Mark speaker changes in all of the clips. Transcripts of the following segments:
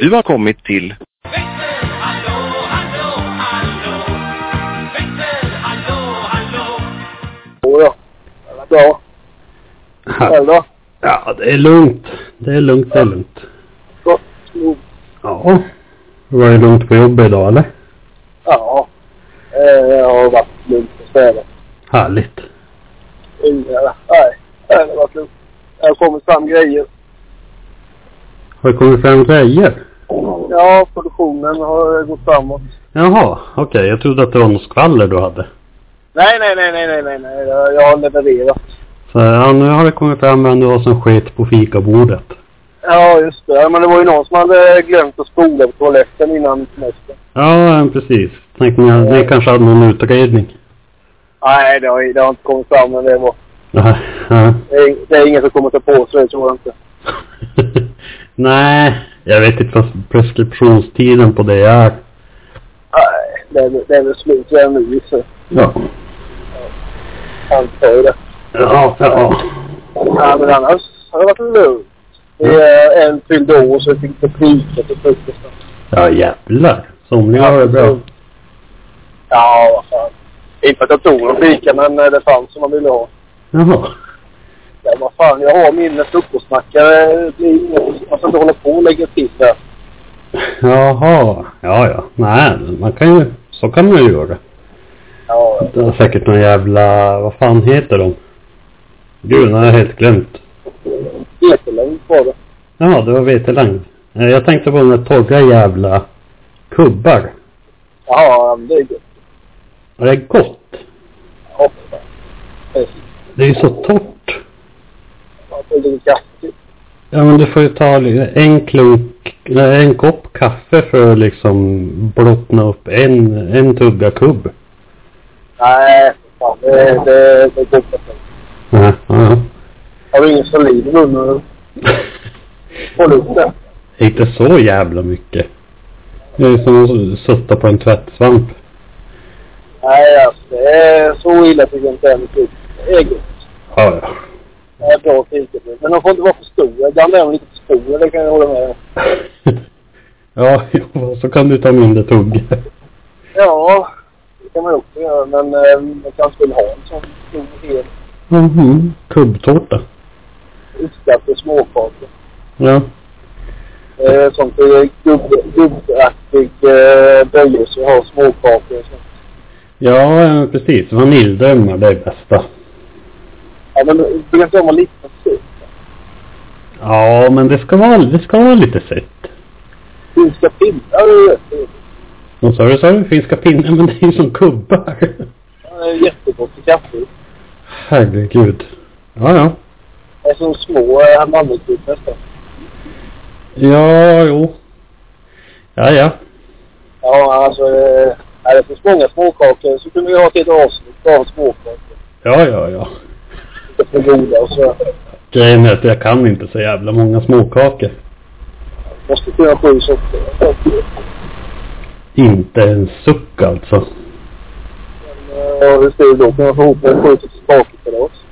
Speaker 1: Du har kommit till...
Speaker 2: Jodå. Det är bra. Själv då?
Speaker 3: Ja, det är lugnt. Det är lugnt, det är lugnt.
Speaker 2: Gott nog.
Speaker 3: Ja. Var det lugnt på jobbet idag eller?
Speaker 2: Ja. Eh, Jag har varit lugnt och städat.
Speaker 3: Härligt.
Speaker 2: Inga- Nej, det har varit lugnt. Det har kommit fram grejer.
Speaker 3: Har det kommit fram grejer?
Speaker 2: Ja, produktionen har gått framåt.
Speaker 3: Jaha, okej. Jag trodde att det var något skvaller du hade.
Speaker 2: Nej, nej, nej, nej, nej, nej, nej. Jag jag har levererat.
Speaker 3: Så ja, nu har det kommit fram vem det var som sket på fikabordet.
Speaker 2: Ja, just det. Ja, Men det var ju någon som hade glömt att spola på toaletten innan semestern.
Speaker 3: Ja, precis. Tänkte ni, ni kanske hade någon utredning?
Speaker 2: Nej, det har, det har inte kommit fram men det var.
Speaker 3: Nej. Ja.
Speaker 2: Det är, det är ingen som kommer ta på sig det tror jag inte.
Speaker 3: Nej, jag vet inte vad preskriptionstiden på det är.
Speaker 2: Nej, det är, väl- det är väl slut redan nu så
Speaker 3: Ja.
Speaker 2: antar jag det.
Speaker 3: Ja, ja.
Speaker 2: Ja, men annars har det varit lugnt. Det är eh, en fylld år så vi fick inte fika till frukosten.
Speaker 3: Ja, jävlar. Somliga har det bra.
Speaker 2: Ja, vad fan. Inte att jag tog någon fika men eh, det fanns som man ville ha.
Speaker 3: Jaha.
Speaker 2: Ja, vad fan, jag har min eh, frukostmacka. eh, Det blir inget- Man ska inte hålla på och lägga till där.
Speaker 3: Jaha. Ja, ja. Nej, man kan ju... Så kan man ju göra.
Speaker 2: Ja,
Speaker 3: Det är säkert någon jävla... Vad fan heter de? Gud, nu har jag helt glömt.
Speaker 2: jättelugnt var det.
Speaker 3: Ja, det var vetelang. Eh, Jag tänkte på de där torra jävla kubbar.
Speaker 2: Ja, men det är gött.
Speaker 3: Och det är gott.
Speaker 2: Ja, fan. Precis.
Speaker 3: Det är ju så torrt.
Speaker 2: Man får lite kaffe.
Speaker 3: Ja, men du får ju ta li- en klunk, nej, en kopp kaffe för att liksom blottna upp en, en tugga kubb.
Speaker 2: Nej, fan. Det, det, det är gott. alltså.
Speaker 3: Ja, ja.
Speaker 2: Har du ingen saliv i munnen? Håll upp den.
Speaker 3: Inte så jävla mycket. Det är som att sutta på en tvättsvamp.
Speaker 2: Nej, alltså, det är så illa tycker jag inte än. Det är gott.
Speaker 3: Ja, ja.
Speaker 2: Det är bra fikabud. Men de får inte vara för stora. Ibland är de lite för stora, det kan jag hålla med om.
Speaker 3: Ja, ja, så kan du ta mindre tuggor.
Speaker 2: Ja, det kan man också göra. Men eh, man kanske vill ha en sån stor hel
Speaker 3: Mhm. Kubbtårta.
Speaker 2: utskattad småkaka.
Speaker 3: Ja.
Speaker 2: Eh, sånt eh, gubb- gubbaktig eh, böjelse har småkakor och sånt.
Speaker 3: Ja, eh, precis. Vaniljdrömmar, det är bästa.
Speaker 2: Ja, men brukar inte de vara lite för stora?
Speaker 3: Ja, men det ska vara, det ska vara lite sött.
Speaker 2: Finska pinnar är ju
Speaker 3: Och så har du, så har du finska pinnar, men det är ju som kubbar.
Speaker 2: Det är jättegott i kaffe.
Speaker 3: Herregud. Ja, ja.
Speaker 2: Det är som små eh, mandelkubb nästan.
Speaker 3: Ja, jo. Ja, ja.
Speaker 2: Ja, alltså. Eh, nej, det finns många småkakor. Så kunde vi ha ett helt avsnitt bara om småkakor.
Speaker 3: Ja, ja, ja.
Speaker 2: Lite för goda och så.
Speaker 3: Grejen är att jag kan inte så jävla många småkakor.
Speaker 2: Måste kunna sju sorter.
Speaker 3: Inte en suck alltså.
Speaker 2: Ja, eh, hur skulle du då kunna få ihop en sju sorters kakor till oss?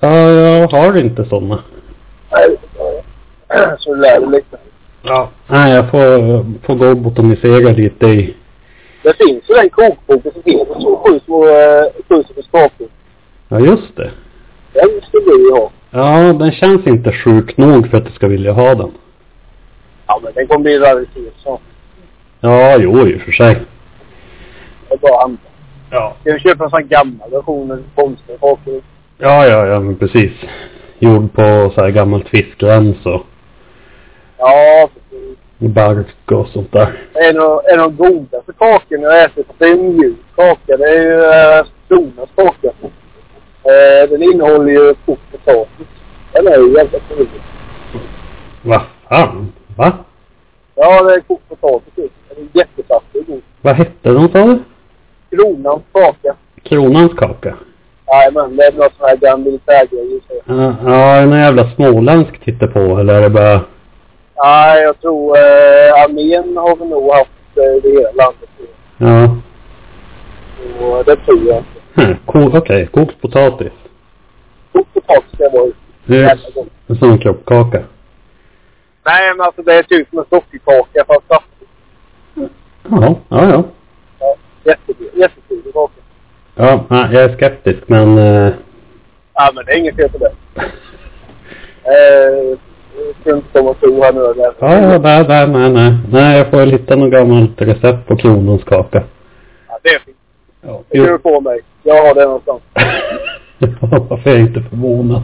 Speaker 3: Ja, jag har inte sådana.
Speaker 2: Nej, ja. Så du lär dig lite.
Speaker 3: Ja. Nej, jag får, får gå och botanisera lite i...
Speaker 2: Det finns ju den kokboken som heter så. Sju små eh, sju sorters kakor.
Speaker 3: Ja, just det.
Speaker 2: Den skulle du ju ha.
Speaker 3: Ja, den känns inte sjuk nog för att jag ska vilja ha den.
Speaker 2: Ja, men den kommer bli en raritet så.
Speaker 3: Ja, jo, i och för sig.
Speaker 2: Det är bara att handla.
Speaker 3: Ja.
Speaker 2: Ska vi köpa en sån gammal version med konstiga kakor?
Speaker 3: Ja, ja, ja, men precis. Gjord på så här gammalt fiskrens och
Speaker 2: Ja, precis.
Speaker 3: bark och sånt där.
Speaker 2: En av, en av de godaste kakorna jag har ätit, det är en mjuk kaka. Det är ju eh, Donas kaka. Eh, den innehåller ju kokt potatis. Den är ju jävla trevlig.
Speaker 3: Vad fan? Va?
Speaker 2: Ja, det är kokt potatis i. Den är jättesaftig och god.
Speaker 3: Vad hette de sa du?
Speaker 2: Kronans kaka.
Speaker 3: Kronans kaka?
Speaker 2: Jajamän, det är någon sån här gammal militärgrej. så.
Speaker 3: Ja, ja, är det någon jävla småländsk tittar på eller är det bara...
Speaker 2: Nej, jag tror eh, armén har vi nog haft eh, i hela landet.
Speaker 3: Ja.
Speaker 2: Och det tror jag inte.
Speaker 3: Hm, ko- Okej, kokt potatis.
Speaker 2: Kokt potatis, det var ju
Speaker 3: Det är
Speaker 2: jävla gott.
Speaker 3: en sån kroppkaka.
Speaker 2: Nej, men alltså det är typ som en sockerkaka fast saftigt.
Speaker 3: Ja, ja, ja.
Speaker 2: Ja, jättedyr, jättedyr kaka.
Speaker 3: Ja, nej, jag är skeptisk men... eh,
Speaker 2: Ja, men det är inget fel på det. Eh, jag ska inte komma och tro här nu. eller?
Speaker 3: Ja, ja, nej, nej, nej, nej. Nej, jag får väl hitta något gammalt recept på kronans kaka.
Speaker 2: Ja, det är fint.
Speaker 3: Ja,
Speaker 2: Det kan du på mig. Jag har det någonstans.
Speaker 3: Varför är jag inte förvånad?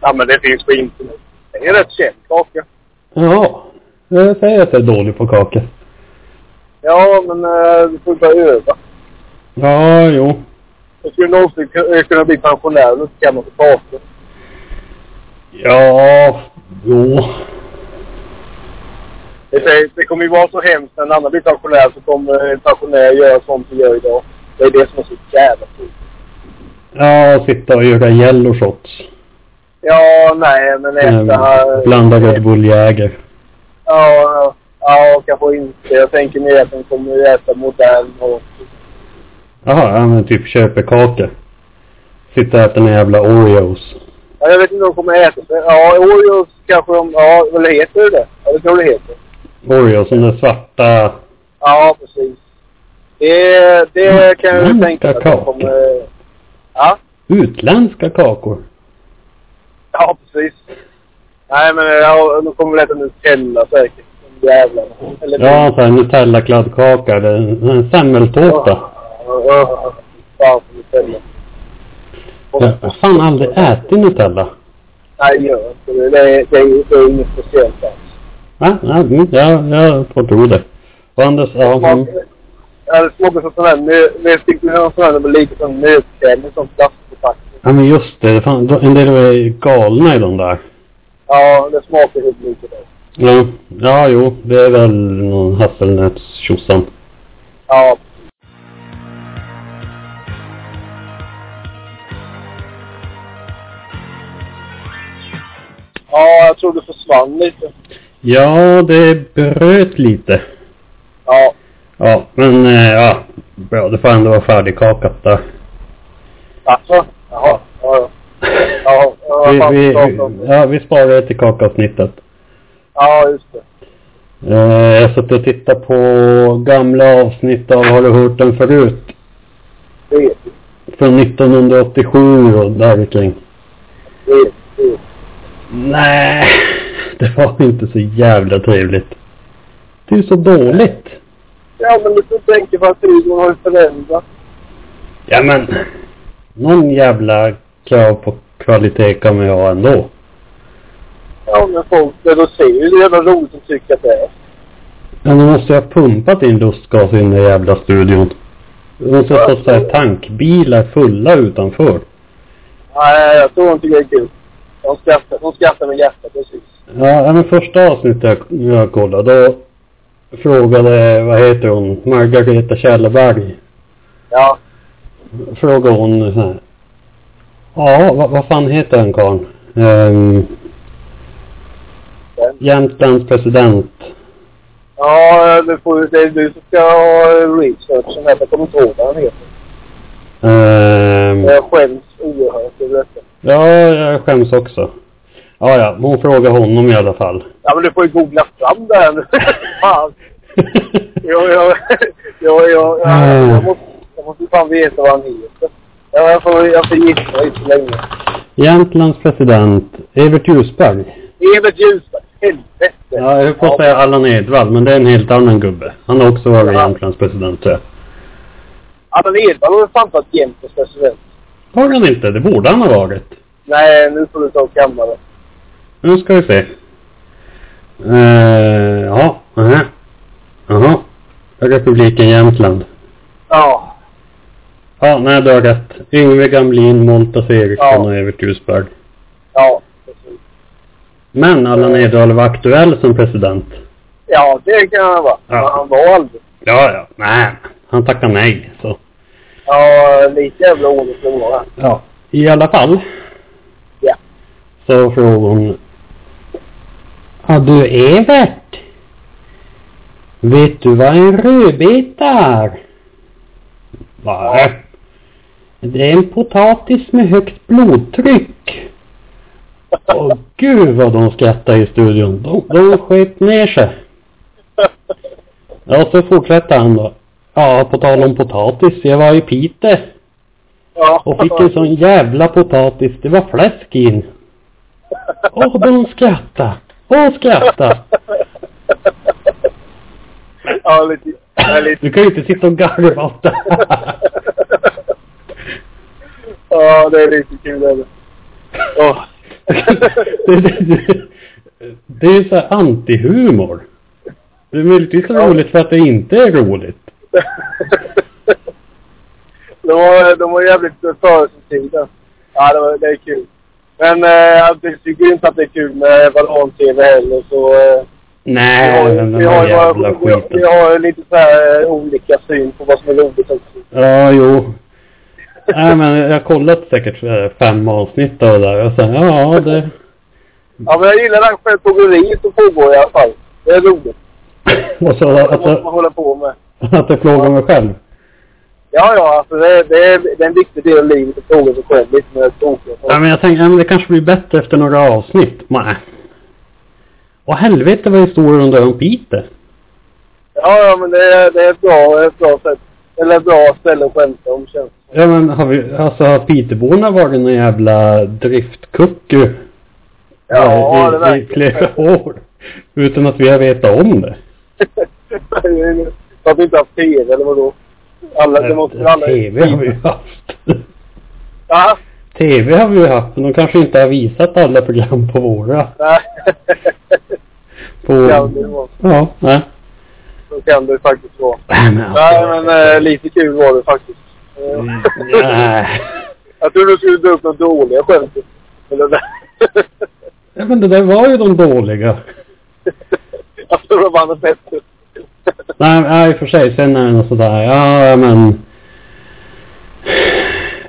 Speaker 2: Ja, men det finns på internet. Det är rätt känd kaka.
Speaker 3: Ja, jag säger att jag är dålig på kakor.
Speaker 2: Ja, men eh, du får bara öva.
Speaker 3: Ja, jo.
Speaker 2: Jag skulle någonsin ku- eh, kunna bli pensionär och inte kan något kakor.
Speaker 3: Ja, jo.
Speaker 2: Det, säger- det kommer ju vara så hemskt när en annan blir pensionär så kommer en pensionär göra sånt vi gör idag. Det är det som är så jävla tråkigt.
Speaker 3: Ja, sitta och göra yellow shots.
Speaker 2: Ja, nej, men äta...
Speaker 3: Eh, Blanda Red Bull Jäger.
Speaker 2: Ja, ja, ja, kanske inte. Jag tänker mer att de kommer att äta modern och...
Speaker 3: Jaha, ja men typ köpekakor. Sitta och äta några jävla Oreos.
Speaker 2: Ja, jag vet inte om de kommer att äta. Ja, Oreos kanske de... Ja, eller heter det det? Ja, det tror jag det heter.
Speaker 3: Oreos, de där svarta...
Speaker 2: Ja, precis. Det, det kan jag
Speaker 3: Mm,
Speaker 2: ju tänka mig att
Speaker 3: kakao.
Speaker 2: de kommer... Ja,
Speaker 3: Utländska kakor.
Speaker 2: ja precis. Nej, men ja, de kommer väl äta Nutella säkert. De jävlarna. Eller...
Speaker 3: Ja, såhär Nutella-kladdkaka. eller en- en Semmeltårta.
Speaker 2: Ja, Fan, Nutella.
Speaker 3: Jag har fan aldrig ätit Nutella.
Speaker 2: Nej, det gör jag inte det. Det är, det är, det är inget speciellt alls.
Speaker 3: Ja, ja, mm, ja, jag får tro det. Och Anders, ja, mm,
Speaker 2: Ja, det smakar som sån här nöt... Det tyckte jag sån här, det var lite som nötkräm, som plastförpackning.
Speaker 3: ja men just det. Fan, då- en del är galna i de där.
Speaker 2: Ja, det smakar helt lite där.
Speaker 3: Ja, ja jo, det är väl någon hasselnötstjosan.
Speaker 2: Ja, Ja, jag tror det försvann lite.
Speaker 3: Ja, det bröt lite.
Speaker 2: Ja,
Speaker 3: Ja, men eh, ja, bra, det får ändå vara färdigkakat där.
Speaker 2: alltså. Jaha. Ja, ja. Ja,
Speaker 3: vi,
Speaker 2: jag har fan
Speaker 3: vi,
Speaker 2: pratat om det.
Speaker 3: ja, vi sparar det till kakavsnittet.
Speaker 2: ja just det.
Speaker 3: Eh, jag satt och tittade på gamla avsnitt av Har du hört den förut?
Speaker 2: Det vet vi.
Speaker 3: Från 1987 och där kring.
Speaker 2: Det vet vi. det vet vi.
Speaker 3: Nej, det var inte så jävla trevligt. Det är så dåligt.
Speaker 2: Ja, men du tänker på att tiden har ju förändrats.
Speaker 3: Ja men, någon jävla krav på kvalitet kan man ju ha ändå.
Speaker 2: Ja, men folk, det då ser ju det jävla roligt att tycka att det är.
Speaker 3: Men då måste jag ha pumpat in lustgas i den där jävla studion. De måste ha stått så här tankbilar fulla utanför.
Speaker 2: Nej, jag tror inte det är kul. De skrattar, de skrattar med hjärtat, precis.
Speaker 3: Ja, ja, men första avsnittet jag, jag kollade, då frågade, vad heter hon, Margareta Kjellberg,
Speaker 2: Ja.
Speaker 3: frågade hon så här. Ja, vad, vad fan heter den karln? Ehm,
Speaker 2: Den.
Speaker 3: Jämtlands president.
Speaker 2: Ja, du får, det är du som ska ha researchen här. Jag kommer inte ihåg vad han heter.
Speaker 3: Ehm,
Speaker 2: Jag skäms oerhört över detta.
Speaker 3: Ja, jag skäms också. Ja, ja, hon frågar honom i alla fall.
Speaker 2: Ja, men du får ju googla fram det här nu. Fan. Jo, jo, jo, jo. Jag, jag, måste, jag måste fan veta vad han heter. Ja, jag får, jag får gissa inte så länge.
Speaker 3: Jämtlands president, Evert Ljusberg.
Speaker 2: Evert Ljusberg. Helvete.
Speaker 3: Ja, jag höll på att säga Allan Edwall, men det är en helt annan gubbe. Han har också varit
Speaker 2: Ja.
Speaker 3: Jämtlands president, tror jag.
Speaker 2: Allan Edwall har väl fan varit Jämtlands president?
Speaker 3: Har han inte? Det borde han ha varit.
Speaker 2: Nej, nu får du ta och kamma det.
Speaker 3: Nu ska vi se. Eh, ja, aha. Jaha. Republiken Jämtland.
Speaker 2: Ja.
Speaker 3: Ja, nej, du har rätt. Yngve Gamlin, Montas Eriksson
Speaker 2: Ja.
Speaker 3: och Evert Ljusberg.
Speaker 2: Ja, precis.
Speaker 3: Men Allan Edwall var aktuell som president.
Speaker 2: Ja, det kan han vara.
Speaker 3: Ja.
Speaker 2: Men han var aldrig.
Speaker 3: Ja, ja. Nej, han tackar nej. Så.
Speaker 2: Ja, lite jävla ordning som var han.
Speaker 3: Ja. I alla fall.
Speaker 2: Ja.
Speaker 3: Så frågade hon. Ja du Evert. Vet du vad en rödbeta är? Nej. Det är en potatis med högt blodtryck. Åh gud vad de skrattade i studion. De, de sket ner sig. Ja, så fortsätter han då. Ja, på tal om potatis. Jag var i Piteå
Speaker 2: Ja.
Speaker 3: och fick en sån jävla potatis. Det var fläsk in. Åh, de skrattade. Åh, skrattade.
Speaker 2: ja, lite... Ja, lite.
Speaker 3: Du kan ju inte sitta och garva åt det.
Speaker 2: ja, det är riktigt kul. det Är det. Ja.
Speaker 3: det, det, det, det är ju så här antihumor. Det är möjligtvis
Speaker 2: Ja.
Speaker 3: roligt för att det inte är roligt.
Speaker 2: de, var, de var jävligt före sin tid. där. Ja, det, var, det är kul. Men eh, jag tycker inte att det är kul med varan-tv heller, så... Eh, vi har,
Speaker 3: Nej, men den
Speaker 2: vi har,
Speaker 3: här
Speaker 2: ju
Speaker 3: jävla
Speaker 2: våra- vi, har-
Speaker 3: skiten.
Speaker 2: vi har ju lite så här eh, olika syn på vad som är roligt också.
Speaker 3: Ja, jo. Nej, men jag har kollat säkert eh, fem avsnitt av det där. Och sen, ja, det...
Speaker 2: Ja, men jag gillar den självplågeri som pågår i alla fall. Det är roligt.
Speaker 3: Och så
Speaker 2: Det
Speaker 3: att,
Speaker 2: måste man
Speaker 3: att,
Speaker 2: hålla på med.
Speaker 3: att jag plågar mig själv.
Speaker 2: Ja, ja, alltså det, är- det, är, det är en viktig del av livet att plåga sig själv lite med tråkigt.
Speaker 3: Ja, men jag tänkte, ja, men det kanske blir bättre efter några avsnitt. Nej. Och helvete vad historien där om Piteå.
Speaker 2: Ja, ja, men det är, det är ett bra, ett bra sätt. Eller ett bra ställe att skämta om känns det
Speaker 3: Ja, men har vi, alltså har Piteborna varit någon jävla driftkucku?
Speaker 2: Ja, det
Speaker 3: i, i
Speaker 2: verkar
Speaker 3: flera år. Utan att vi har vetat om det.
Speaker 2: som. För att vi inte haft tv eller vadå? Alla, det måste väl alla...
Speaker 3: TV har vi ju haft.
Speaker 2: Ja,
Speaker 3: TV har vi ju haft, men de kanske inte har visat alla program på våra.
Speaker 2: nej.
Speaker 3: På...
Speaker 2: Så kan det vara.
Speaker 3: Ja, nej.
Speaker 2: Så kan det faktiskt vara.
Speaker 3: Nej, men
Speaker 2: Nej, men eh, lite kul var det faktiskt. Eh,
Speaker 3: Nej.
Speaker 2: Jag trodde du skulle dra upp något dåliga skämt. Men det där...
Speaker 3: Ja, men det där var ju de dåliga.
Speaker 2: Jag tror det var något bättre.
Speaker 3: Nej, men, ja, i och för sig. Sen är det något sådär, ja men...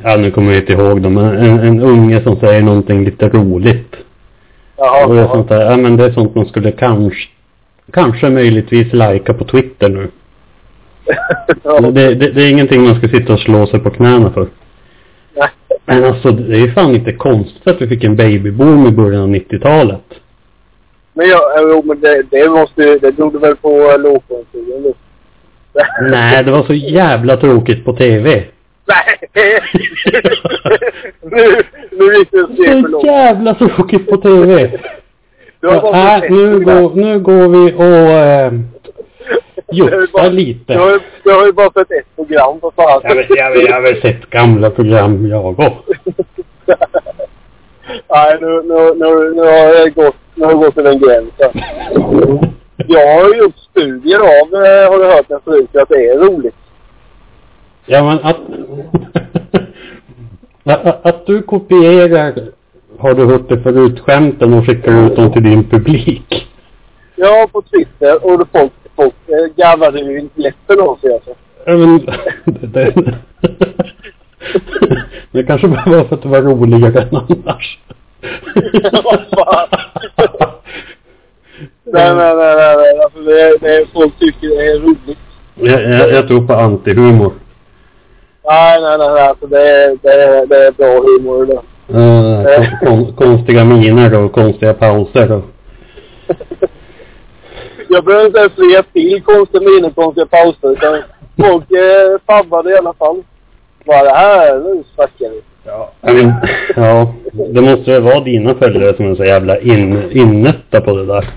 Speaker 3: Ja, nu kommer jag inte ihåg dem, men en, en unge som säger någonting lite roligt.
Speaker 2: Jaha.
Speaker 3: Och det är sånt där, ja men det är sånt man skulle kanske, kanske möjligtvis lajka på Twitter nu.
Speaker 2: Ja.
Speaker 3: Det, det, det är ingenting man ska sitta och slå sig på knäna för.
Speaker 2: Nej.
Speaker 3: Men alltså det är ju fan inte konstigt att vi fick en babyboom i början av 90-talet.
Speaker 2: Men jag, eh, jo, men det, det måste ju, det berodde väl på eh, lågkonjunkturen då?
Speaker 3: Nej, det var så jävla tråkigt på TV.
Speaker 2: Nej! nu, nu gick det ett steg för
Speaker 3: Så
Speaker 2: långt.
Speaker 3: jävla tråkigt på TV.
Speaker 2: Du har varit
Speaker 3: Nej,
Speaker 2: på
Speaker 3: nu
Speaker 2: fest innan.
Speaker 3: går, nu går vi och eh,
Speaker 2: Du har ju bara-
Speaker 3: joxar
Speaker 2: Du har,
Speaker 3: lite.
Speaker 2: ju- du har ju bara sett ett program för fan.
Speaker 3: Jag vet- jag vet- jag har väl sett gamla program jag också.
Speaker 2: Nej, nu, nu, nu, nu har jag gått, nu har jag gått till den gränsen. Jag har ju gjort studier av, eh, har du hört mig förut, att det är roligt.
Speaker 3: Ja, men att, att, att- att du kopierar, har du hört det förut, skämten och skickar ut dem till din publik.
Speaker 2: Ja, på Twitter och då folk, folk eh, garvade ju inte läppen av sig alltså.
Speaker 3: Ja, men, det, det, det kanske bara var för att det var roligare än annars.
Speaker 2: Vad fan.
Speaker 3: Mm.
Speaker 2: Nej, nej, nej, nej, nej. Alltså, det, det, folk tycker det är roligt.
Speaker 3: jag, jag, jag tror på antihumor.
Speaker 2: Nej, nej, nej, nej. Alltså, det, är- det, är- det är bra humor det.
Speaker 3: Eh, kon, konstiga miner och konstiga pauser. Och,
Speaker 2: Jag behöver inte ens lägga till konstiga miner, konstiga pauser. Utan folk eh, fabbade i alla fall. Bara det här, nu snackar vi.
Speaker 3: ja, men, ja, det måste ju vara dina följare som är så jävla in, innötta på det där.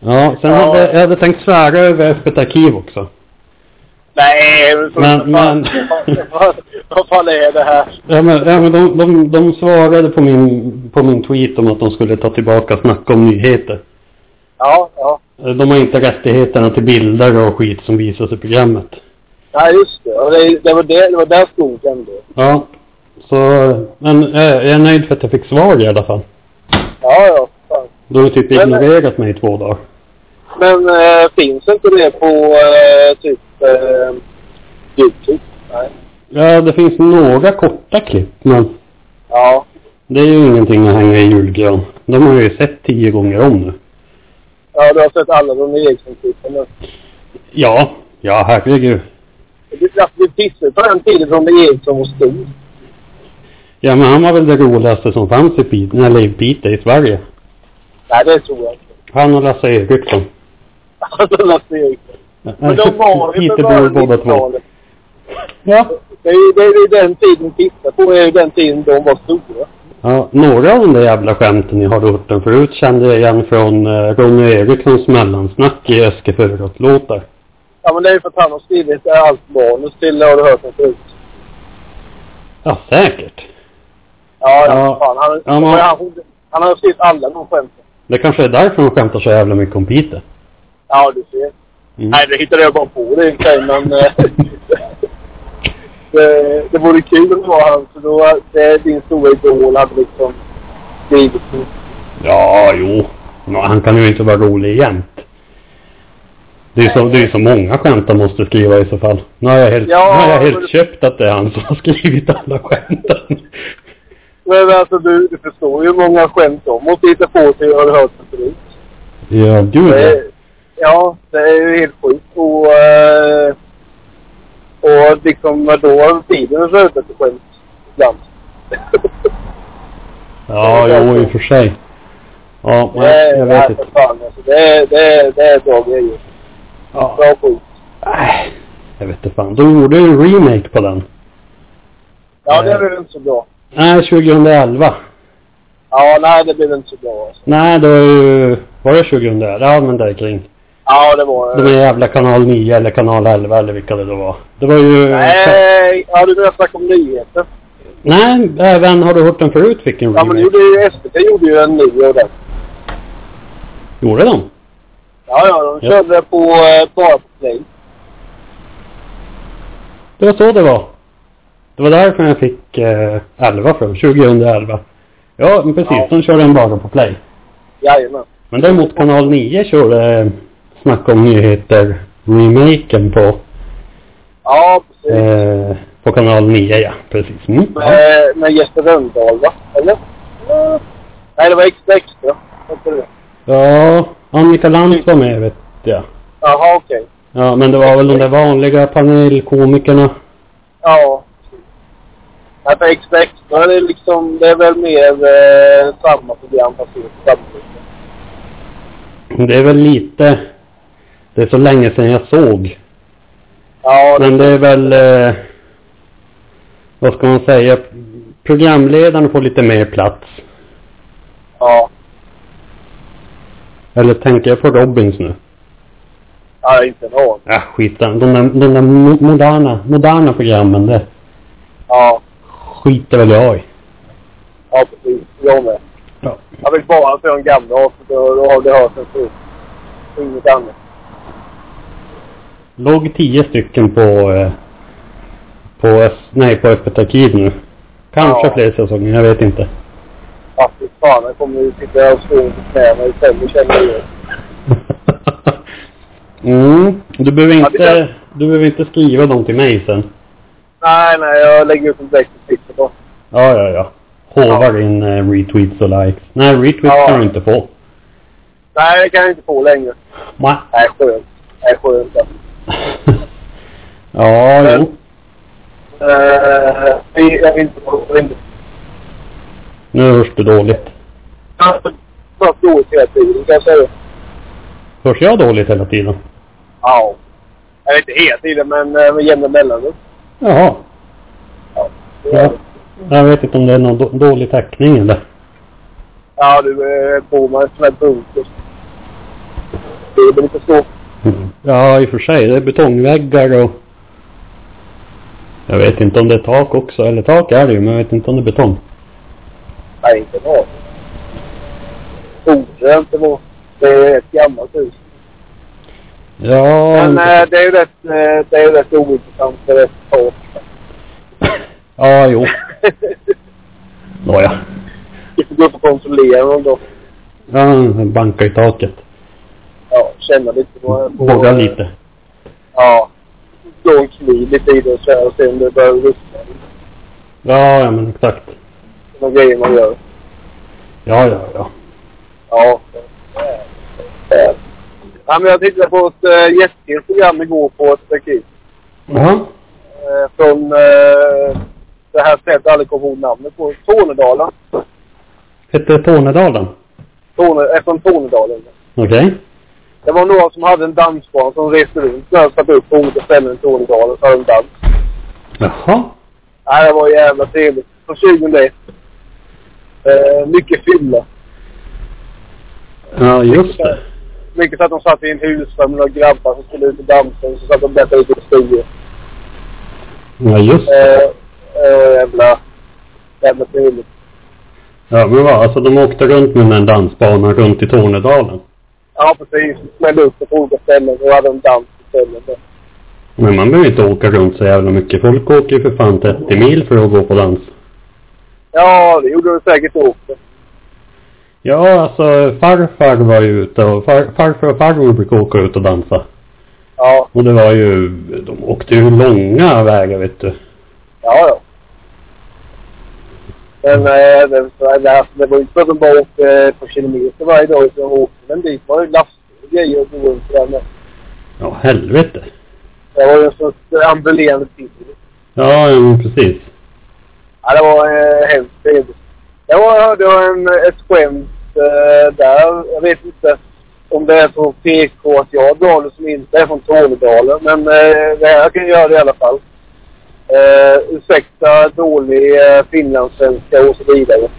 Speaker 3: Ja, sen
Speaker 2: Ja.
Speaker 3: hade jag hade tänkt svära över öppet arkiv också.
Speaker 2: Nej, men, för
Speaker 3: Men-
Speaker 2: fan, vad,
Speaker 3: men-
Speaker 2: vad, vad fan är det här?
Speaker 3: Ja, men, ja, men de, de, de svarade på min, på min tweet om att de skulle ta tillbaka Snacka om nyheter. Eh,
Speaker 2: Ja, ja.
Speaker 3: De har inte rättigheterna till bilder och skit som visas i programmet.
Speaker 2: Ja, just det. Och det, det var det, det var där stod ändå.
Speaker 3: Ja, så... Men eh, jag, jag är nöjd för att jag fick svar i alla fall.
Speaker 2: Ja, ja. Fan.
Speaker 3: De har typ
Speaker 2: Men-
Speaker 3: ignorerat mig i två dagar.
Speaker 2: Men eh, finns inte det på eh, typ eh, Youtube? Nej.
Speaker 3: Ja, det finns några korta klipp, men
Speaker 2: Ja.
Speaker 3: det är ju ingenting att hänga i julgran. De har jag ju sett tio gånger om nu.
Speaker 2: Ja, du har sett alla de Eriksson-klippen nu.
Speaker 3: Ja, ja herregud.
Speaker 2: Det, alltså, det pissade på den tiden som Eriksson var stor.
Speaker 3: Ja men han var väl det roligaste som fanns i Piteå, eller i Piteå i Sverige.
Speaker 2: Nej, det tror jag inte.
Speaker 3: Han och Lasse Eriksson.
Speaker 2: Alltså, Lasse Eriksson. Men de var ju
Speaker 3: Pitebor båda två. Ja.
Speaker 2: Det är ju det är ju den tiden vi tittar på, det är ju den tiden de var stora.
Speaker 3: ja. Några av de där jävla skämten jag har hört dem förut kände jag igen från eh, Ronny Erikssons mellansnack i Eske Furubrott-låtar.
Speaker 2: Ja, men det är ju för att han har skrivit eh, allt manus till det, har du hört mig förut.
Speaker 3: Ja, säkert.
Speaker 2: Ja, ja,
Speaker 3: Ja.
Speaker 2: fan. Han,
Speaker 3: Ja, men-
Speaker 2: han, han har skrivit alla de skämten.
Speaker 3: Det kanske är därför de skämtar så jävla mycket om Piteå.
Speaker 2: Ja, du ser.
Speaker 3: Mm.
Speaker 2: Nej, det hittade jag bara på det i och för sig, men... eh, det, det vore kul om det var han, för då... Det är din stora idol, hade liksom skrivit. det.
Speaker 3: Ja, jo. Nå, han kan ju inte vara rolig jämt. Det är ju så, det är ju så många skämt han måste skriva i så fall. Nu har jag helt,
Speaker 2: Ja,
Speaker 3: nu har jag
Speaker 2: men-
Speaker 3: helt köpt att det är han som har skrivit alla skämten.
Speaker 2: Men alltså, du, du förstår ju hur många skämt de måste hitta på sig, har du hört det förut.
Speaker 3: Ja, gud
Speaker 2: Det
Speaker 3: ja.
Speaker 2: är, ja, det är ju helt sjukt. Och, eh, och liksom då har tiden slutat till skämt ibland.
Speaker 3: Ja, jo, i och för sig. Ja, nej,
Speaker 2: Nej,
Speaker 3: jag vet inte.
Speaker 2: Fan, alltså, det, är, det, är, det är bra grejer.
Speaker 3: Ja,
Speaker 2: Bra skit.
Speaker 3: nej, jag vet inte fan. De gjorde ju en remake på den.
Speaker 2: Ja,
Speaker 3: Nej.
Speaker 2: det blev inte så bra.
Speaker 3: Nej, 2011.
Speaker 2: Ja, nej, det blev inte så bra. Alltså.
Speaker 3: Nej, det var ju... Var det 2011? Ja, men där kring.
Speaker 2: Ja, det var eh,
Speaker 3: De
Speaker 2: det.
Speaker 3: där jävla kanal 9 eller kanal 11 eller vilka det då var. Det var ju...
Speaker 2: Nej, ja, du menar snacka om nyheter.
Speaker 3: Nej, även Har du hört den förut fick en
Speaker 2: Ja, men
Speaker 3: remake.
Speaker 2: det gjorde ju SVT gjorde ju en ny och den.
Speaker 3: Gjorde de?
Speaker 2: Ja, ja, de
Speaker 3: Ja.
Speaker 2: körde på eh, bara på play.
Speaker 3: Det var så det var. Det var därför jag fick eh, 11 från, 2011. Ja, men precis.
Speaker 2: Ja.
Speaker 3: De körde en bara på play.
Speaker 2: Jajamän.
Speaker 3: Men däremot kanal 9 körde eh, Snack om nyheter remaken på,
Speaker 2: Ja, precis.
Speaker 3: eh, på kanal 9 ja. Precis. Mm. Ja.
Speaker 2: Med, med Jesper Rönndahl, va? Eller? Eh, Nej, det var Extra Extra. Var inte det?
Speaker 3: ja, Annika Lantz var med vet jag.
Speaker 2: Jaha, okej.
Speaker 3: Ja, men det var väl de där vanliga panelkomikerna.
Speaker 2: Ja. Nej, för Extra Extra det är liksom, det är väl mer eh, samma program fast inte samtidigt.
Speaker 3: Det är väl lite... Det är så länge sedan jag såg.
Speaker 2: Ja, det,
Speaker 3: Men det är väl... Eh, vad ska man säga? Programledaren får lite mer plats.
Speaker 2: ja.
Speaker 3: Eller tänker jag på Robins nu?
Speaker 2: Ja, jag har inte en aning.
Speaker 3: Ja, skit De där, de där mo- moderna, moderna programmen, det
Speaker 2: Ja,
Speaker 3: skiter väl jag i.
Speaker 2: ja precis. Jag med.
Speaker 3: Ja.
Speaker 2: Jag vill bara se de gamla avsnitten och då har det hört sen förut. Inget annat.
Speaker 3: Låg tio stycken på... Eh, på, S- nej, på Öppet arkiv nu. Kanske
Speaker 2: Ja.
Speaker 3: fler säsonger, jag vet inte.
Speaker 2: Ja, fy fan, jag kommer ju sitta och slå på knäna i sängen känner jag.
Speaker 3: mm. Du behöver
Speaker 2: Ja, det
Speaker 3: inte, du behöver inte skriva dem till mig sen.
Speaker 2: Nej, nej, jag lägger ut en direkt på Twitter då.
Speaker 3: Ja, ja, ja. Håvar in eh, retweets och likes. Nej, retweets
Speaker 2: Ja.
Speaker 3: kan du inte få.
Speaker 2: Nej, det kan jag inte få längre.
Speaker 3: Ma.
Speaker 2: Nej, skönt. Nej, skönt. alltså.
Speaker 3: ja, jo.
Speaker 2: Eh, vi- jag vill inte vara rimlig.
Speaker 3: Nu hörs du dåligt.
Speaker 2: Jag har pratat dåligt hela tiden, kan jag säga.
Speaker 3: Hörs jag dåligt hela tiden?
Speaker 2: Ja. Jag vet inte hela tiden, men eh, med jämna mellanrum.
Speaker 3: Jaha.
Speaker 2: Ja. det gör
Speaker 3: Ja.
Speaker 2: det.
Speaker 3: Jag vet inte om det är någon då- dålig täckning eller?
Speaker 2: Ja, du eh, bor man i en sån här bunker. Det är väl lite så.
Speaker 3: Ja, i och för sig. Det är betongväggar och... Jag vet inte om det är tak också. Eller tak är det ju, men jag vet inte om det är betong.
Speaker 2: Nej, inte en aning. Borde det inte vara. Det är ett gammalt hus.
Speaker 3: Ja...
Speaker 2: Men eh, det är ju rätt, eh, det är ju rätt ointressant för ett tak.
Speaker 3: Ja, jo. Nåja.
Speaker 2: Vi får gå upp och kontrollera dem då.
Speaker 3: Ja, banka i taket.
Speaker 2: Ja, känna lite på... på-
Speaker 3: Borra lite.
Speaker 2: Ja. Slå en kniv lite i det och så här och se om det börjar rusta.
Speaker 3: Ja, ja men exakt.
Speaker 2: De grejer man gör.
Speaker 3: Ja, ja, ja.
Speaker 2: Ja. Eh, Ja, men jag tittade på ett äh, eh, jättefint program igår på ett arkiv.
Speaker 3: Jaha.
Speaker 2: Eh, från eh, det här stället jag aldrig kommer ihåg namnet på. Tornedalen.
Speaker 3: Hette Tornedalen?
Speaker 2: Torne, eftersom Tornedalen.
Speaker 3: Okej.
Speaker 2: Det var några som hade en dansbana som reste runt där och satte upp på olika ställen i Tornedalen för en dans.
Speaker 3: Jaha.
Speaker 2: Nej, det var jävla trevligt. Från 2001. Eh, mycket fylla.
Speaker 3: Ja, just det.
Speaker 2: Mycket så att de satt i en husvagn med några grabbar som skulle ut och dansa och så satt de och berättade lite historier.
Speaker 3: Ja, just det.
Speaker 2: Eh, eh, jävla... Jävla trevligt.
Speaker 3: Ja, men vad, alltså de åkte runt med en dansbana runt i Tornedalen.
Speaker 2: Ja, precis. Smällde upp det på olika ställen och hade en dans på ställen där.
Speaker 3: Men man behöver inte åka runt så jävla mycket. Folk åker ju för fan 30 mil för att gå på dans.
Speaker 2: Ja, det gjorde de säkert också.
Speaker 3: Ja, alltså farfar var ju ute och far, farfar och farmor brukade åka ut och dansa.
Speaker 2: Ja,
Speaker 3: Och det var ju, de åkte ju långa vägar vet du.
Speaker 2: ja, ja. Men eh, det, det, alltså, det var ju inte så att de bara åkte ett par kilometer varje dag utan de åkte väl dit. Det var ju lastbil och grejer och gå runt där med.
Speaker 3: Ja, helvete.
Speaker 2: Det var ju en sorts eh, ambulerande bil.
Speaker 3: Ja, ja, precis.
Speaker 2: Ja, det var eh, hemskt trevligt. Jag var- jag hörde en, ett skämt eh, där. Jag vet inte om det är från PK att jag drar det som inte är från Tornedalen. Men eh, det här kan jag göra det i alla fall. Eh, ursäkta dålig eh, finlandssvenska och så vidare.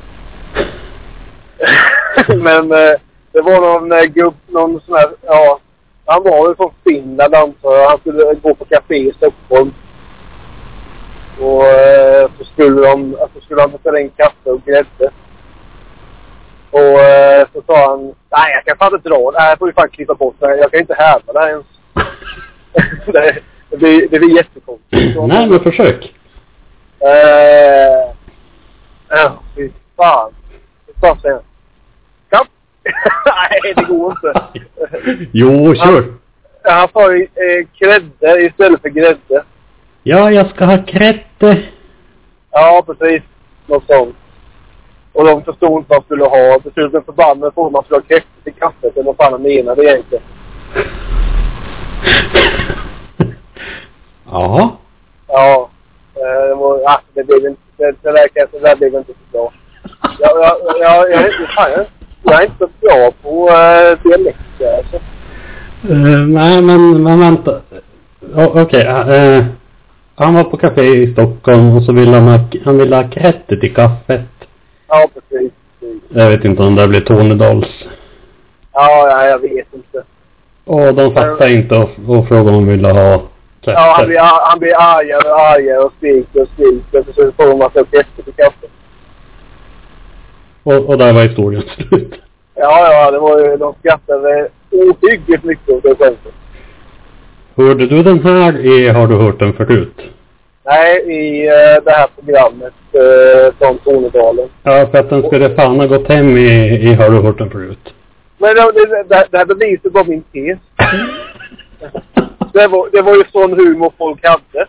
Speaker 2: men eh, det var någon eh, gubb, någon sån här, ja. Han var väl från Finland antar jag. Han skulle gå på café i Stockholm. Och eh, så skulle de, alltså skulle han beställa in kaffe och grädde. Och eh, så sa han, nej jag kan fan inte dra det här, jag får ju fan klippa bort det här. jag kan inte häva det här ens. det, det, blir, det blir jättekonstigt.
Speaker 3: Nej, men försök.
Speaker 2: Eh, ja, fy fan. Fy fan säger han. Kapp! nej det går inte.
Speaker 3: Jo, kör.
Speaker 2: han sa ju eh, grädde istället för grädde.
Speaker 3: Ja, jag ska ha krätte.
Speaker 2: Ja, precis. Något sånt. Och de förstod inte vad man skulle ha. Till slut blev förbannade på om man skulle ha kräftor till kaffet eller vad fan han menade egentligen.
Speaker 3: Jaha.
Speaker 2: Ja. Eh, Det var, ah, det blev inte, det, det där kanske, det där blev inte så bra. Jag, jag, jag, jag, jag, fan, jag, jag är inte så bra på äh, dialekter alltså.
Speaker 3: Eh, nej, men, men vänta. O- Okej. eh, han var på café i Stockholm och så ville han ha, han ville ha krätte till kaffet.
Speaker 2: Ja, precis. precis.
Speaker 3: Jag vet inte om det blir Tornedals.
Speaker 2: Ja, ja, jag vet inte.
Speaker 3: Och de fattade inte och, och frågade om de ville ha kräftor.
Speaker 2: Ja, han blir, ar- han blir argare och argare och skriker och skriker. Och till slut får de massa kräftor till kaffet.
Speaker 3: och, och där var historien slut.
Speaker 2: Ja, ja, det var ju, de skrattade ohyggligt mycket åt det skämtet.
Speaker 3: Hörde du den här i Har du hört den förut?
Speaker 2: Nej, i eh, det här programmet eh, från Tornedalen.
Speaker 3: Ja, för att den skulle fan ha gått hem i, i Har du hört den förut?
Speaker 2: Men det, det, det, det här bevisar bara min tes. Det var, det var ju sån humor folk hade.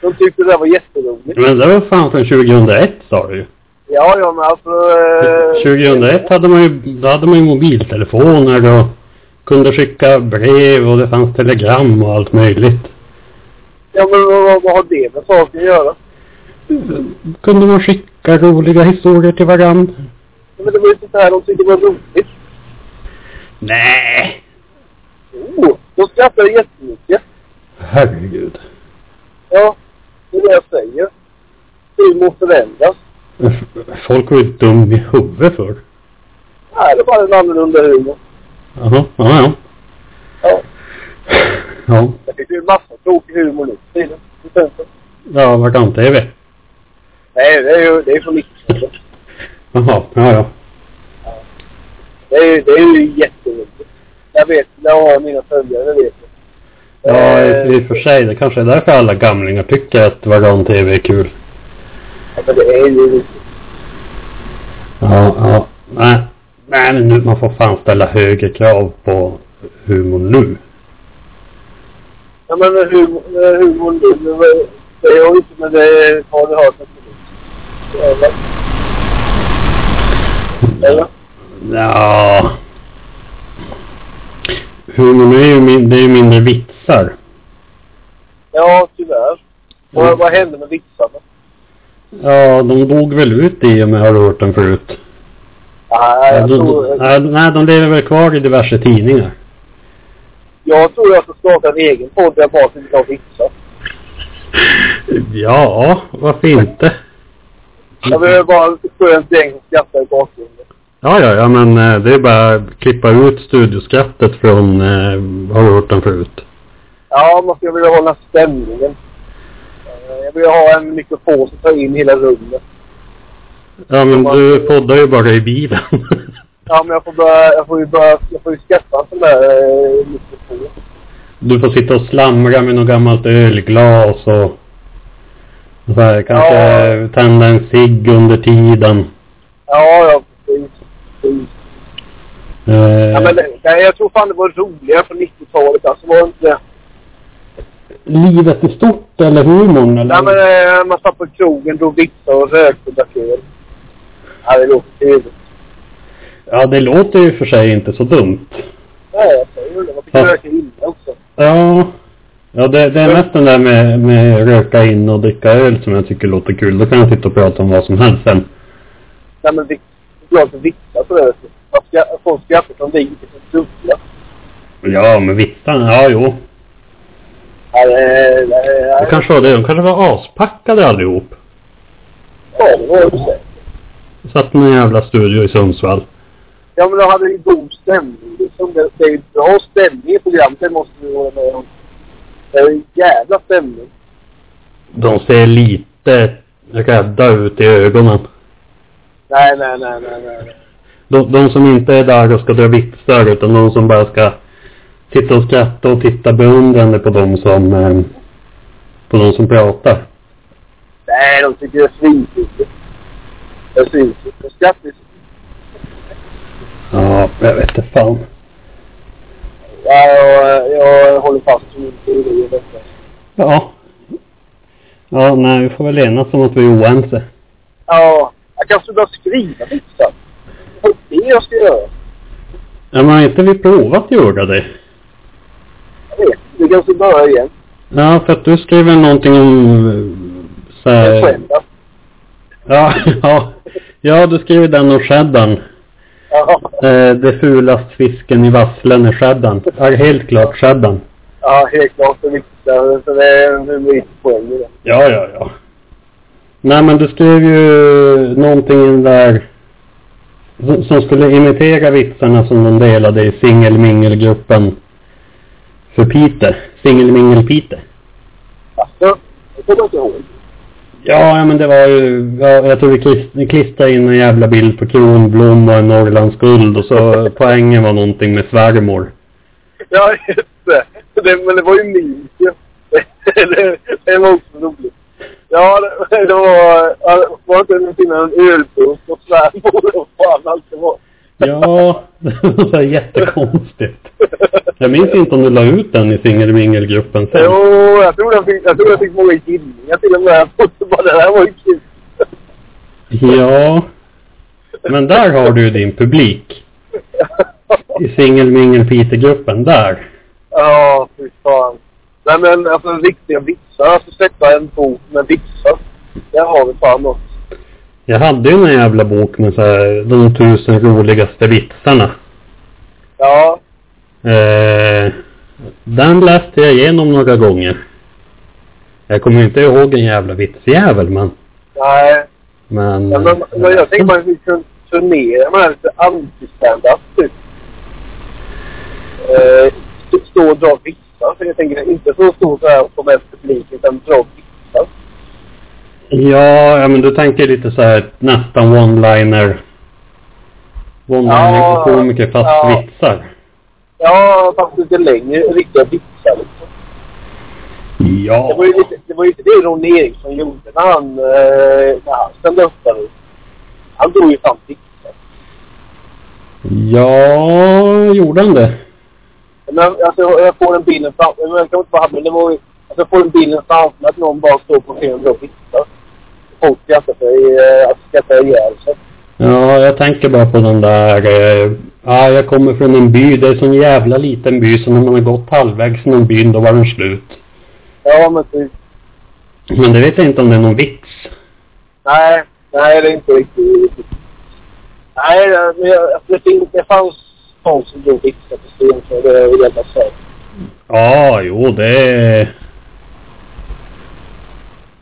Speaker 2: De tyckte det var jätteroligt.
Speaker 3: Men det var fan från 2001 sa du ju.
Speaker 2: Ja, ja, men alltså... Eh,
Speaker 3: 2001 hade man ju, då hade man ju mobiltelefoner och kunde skicka brev och det fanns telegram och allt möjligt.
Speaker 2: Ja, men vad, vad har det med saken att göra?
Speaker 3: Kunde man skicka roliga historier till varandra?
Speaker 2: Ja, Men det var ju sånt här de tyckte var roligt.
Speaker 3: Nej.
Speaker 2: Jo, de skrattade jättemycket.
Speaker 3: Herregud.
Speaker 2: Ja, det är det jag säger. Humor förändras.
Speaker 3: Folk var ju dum i huvudet förr.
Speaker 2: Nej, det var en annorlunda humor.
Speaker 3: Jaha, ja, ja.
Speaker 2: Ja,
Speaker 3: Ja,
Speaker 2: det finns ju massa tråkig humor nu för tiden. Till exempel.
Speaker 3: ja varann-tv.
Speaker 2: Nej, det är ju det är från 90-talet.
Speaker 3: Jaha, ja, ja.
Speaker 2: Det är, ju- det är ju jätteroligt. Jag vet, det har mina följare, det vet jag.
Speaker 3: Ja, i, i
Speaker 2: Eh,
Speaker 3: och för sig. Det kanske är därför alla gamlingar tycker att varann-tv är kul.
Speaker 2: ja, men det är ju roligt.
Speaker 3: Ja, ja. Nej. Nej, men nu, man får fan ställa högre krav på humor nu.
Speaker 2: Ja, men humor, humor nu, det var- det är ju inte, men det är- har du hört något Eller? Eller?
Speaker 3: Ja. Humor nu är ju min, det är ju mindre vitsar.
Speaker 2: Ja, tyvärr. Vad,
Speaker 3: Mm.
Speaker 2: vad hände med vitsarna?
Speaker 3: Ja, de dog väl ut i och med Har du hört den förut?
Speaker 2: Nej, jag
Speaker 3: de,
Speaker 2: tror,
Speaker 3: nej, nej, de lever väl kvar i diverse tidningar.
Speaker 2: jag, tror jag ska starta en egen podd där jag bara sitter och fixar.
Speaker 3: Ja, varför inte? Mm.
Speaker 2: Jag behöver bara ett skönt gäng som skrattar i bakgrunden.
Speaker 3: Ja, ja, ja, men eh, det är bara att klippa ut studioskattet från eh, Har du hört den förut?
Speaker 2: Ja, man skulle vilja hålla stämningen. Eh, Jag vill ha en mikrofon som tar in hela rummet.
Speaker 3: Ja, men du poddar ju bara i bilen.
Speaker 2: Ja, men jag får börja, jag får ju börja, jag får ju skaffa en sån där eh, mikrofon.
Speaker 3: Du får sitta och slamra med något gammalt ölglas och så här, kanske
Speaker 2: Ja.
Speaker 3: tända en cigg under tiden.
Speaker 2: Ja, ja, precis. precis.
Speaker 3: Eh,
Speaker 2: Ja, men det, nej, jag tror fan det var roligare på 90-talet alltså, var det inte det?
Speaker 3: Livet i stort eller humorn
Speaker 2: Nej,
Speaker 3: eller?
Speaker 2: men eh, man satt på krogen, drog vitsar och rökte och drack öl. Ja, det låter trevligt.
Speaker 3: Ja, det låter ju för sig inte så dumt.
Speaker 2: Ja, jag säger det. Man fick
Speaker 3: Ja.
Speaker 2: röka inne också.
Speaker 3: Ja. Ja, det, det är
Speaker 2: Ja.
Speaker 3: mest den där med, med röka in och dricka öl som jag tycker låter kul. Då kan jag sitta och prata om vad som helst sen.
Speaker 2: Nej, men vits, jag för vitsar på det sättet. Folk skrattar som vi, inte som dubbla.
Speaker 3: Ja, men vitsarna, ja jo.
Speaker 2: Ja, det- det-
Speaker 3: Det
Speaker 2: ja,
Speaker 3: kanske var det. De kanske var aspackade allihop.
Speaker 2: det var ju så.
Speaker 3: Satt i en jävla studio i Sundsvall.
Speaker 2: Ja, men de hade ju god stämning liksom. Det, det är ju bra stämning i programmet, det måste vi hålla med om. Det är en jävla stämning.
Speaker 3: De ser lite rädda ut i ögonen.
Speaker 2: Nej, nej, nej, nej, nej. nej.
Speaker 3: De, de som inte är där och ska dra vitsar utan de som bara ska sitta och skratta och titta beundrande på de som, eh, på de som pratar.
Speaker 2: Nej, de tycker det är svinkul. Det är svinkul. De skrattar ju så-
Speaker 3: Ja, jag vet inte fan.
Speaker 2: Ja, jag, jag håller fast vid min teori om detta.
Speaker 3: Ja. Ja, nej, vi får väl enas om att vi är oense.
Speaker 2: Ja, jag kanske börjar skriva vitsar. Det är det jag ska göra.
Speaker 3: Ja, men har inte vi provat att göra det?
Speaker 2: Jag vet Vi kanske börjar igen.
Speaker 3: Ja, för att du skrev väl någonting om... eh, Så
Speaker 2: Det
Speaker 3: här,
Speaker 2: är söndag.
Speaker 3: ja, ja. Ja, du skrev den om cheddar.
Speaker 2: Ja,
Speaker 3: Eh, det fulast fisken i vasslen är cheddar. Ja, helt klart cheddar.
Speaker 2: ja, helt klart. Det är viktigt. Så det är en humoristisk poäng i det.
Speaker 3: Ja, ja, ja. Nej, men du skrev ju någonting där som- som skulle imitera vitsarna som de delade i singelmingelgruppen för Peter. Singelmingel-Peter.
Speaker 2: Alltså, det kommer jag inte ihåg.
Speaker 3: Ja, ja, men det var ju... Ja, jag tror vi klist- klistrade in en jävla bild på Kronblom och en Norrlandsguld och så poängen var någonting med svärmor.
Speaker 2: Ja, just det. det. Men det var ju minst ju. Det, det var också roligt. Ja, det, det var... ja, Var det inte en finna en ölburk och svärmor och fan allt det var?
Speaker 3: Ja, det var jättekonstigt. Jag minns inte om du la ut den i singelmingelgruppen sen.
Speaker 2: Jo, jag tror jag fick, jag tror jag fick många gillningar till och med. Jag trodde bara det här var ju kul.
Speaker 3: Ja. Men där har du ju din publik. I singelmingel-Peter-gruppen, där.
Speaker 2: Ja, fy fan. Nej men alltså riktiga vitsar. Alltså släppa en bok med vitsar. Där har vi fan något.
Speaker 3: Jag hade ju en jävla bok med så här, de tusen roligaste vitsarna.
Speaker 2: Ja,
Speaker 3: Eh, den läste jag igenom några gånger. Jag kommer inte ihåg en jävla vitsjävel, men...
Speaker 2: nej.
Speaker 3: Men,
Speaker 2: Ja, men, men jag tänker man skulle turnera med lite anti-standup typ. Eh, st- stå och dra vitsar. För jag tänker inte så stå så här och få med publik utan dra vitsar.
Speaker 3: Ja, ja, men du tänker lite så här nästan one-liner.
Speaker 2: Ja,
Speaker 3: One-liner-komiker fast
Speaker 2: ja.
Speaker 3: vitsar.
Speaker 2: Ja, fast lite längre. Riktiga vitsar liksom. Det
Speaker 3: Ja.
Speaker 2: var ju lite det, var ju lite det Ronny Eriksson gjorde när han, eh, när han ställde upp där. Han drog ju fram vitsar.
Speaker 3: Ja, gjorde han det?
Speaker 2: Men alltså jag får den bilden framför mig. Jag kan inte vara men det var ju... Alltså jag får den bilden framför mig att någon bara står på scenen och drar vitsar. Folk skrattar sig, eh, alltså skrattar ihjäl sig.
Speaker 3: Ja, jag tänker bara på den där... Eh, ja, jag kommer från en by. Det är en sån jävla liten by så när man har gått halvvägs genom byn då var den slut.
Speaker 2: Ja men typ.
Speaker 3: Men det vet jag inte om det är någon vits.
Speaker 2: Nej, nej det är inte riktigt. Nej, men jag, alltså, det, finns, det fanns folk som drog vitsar på sten så det är jävla säkert.
Speaker 3: Ja, jo det är...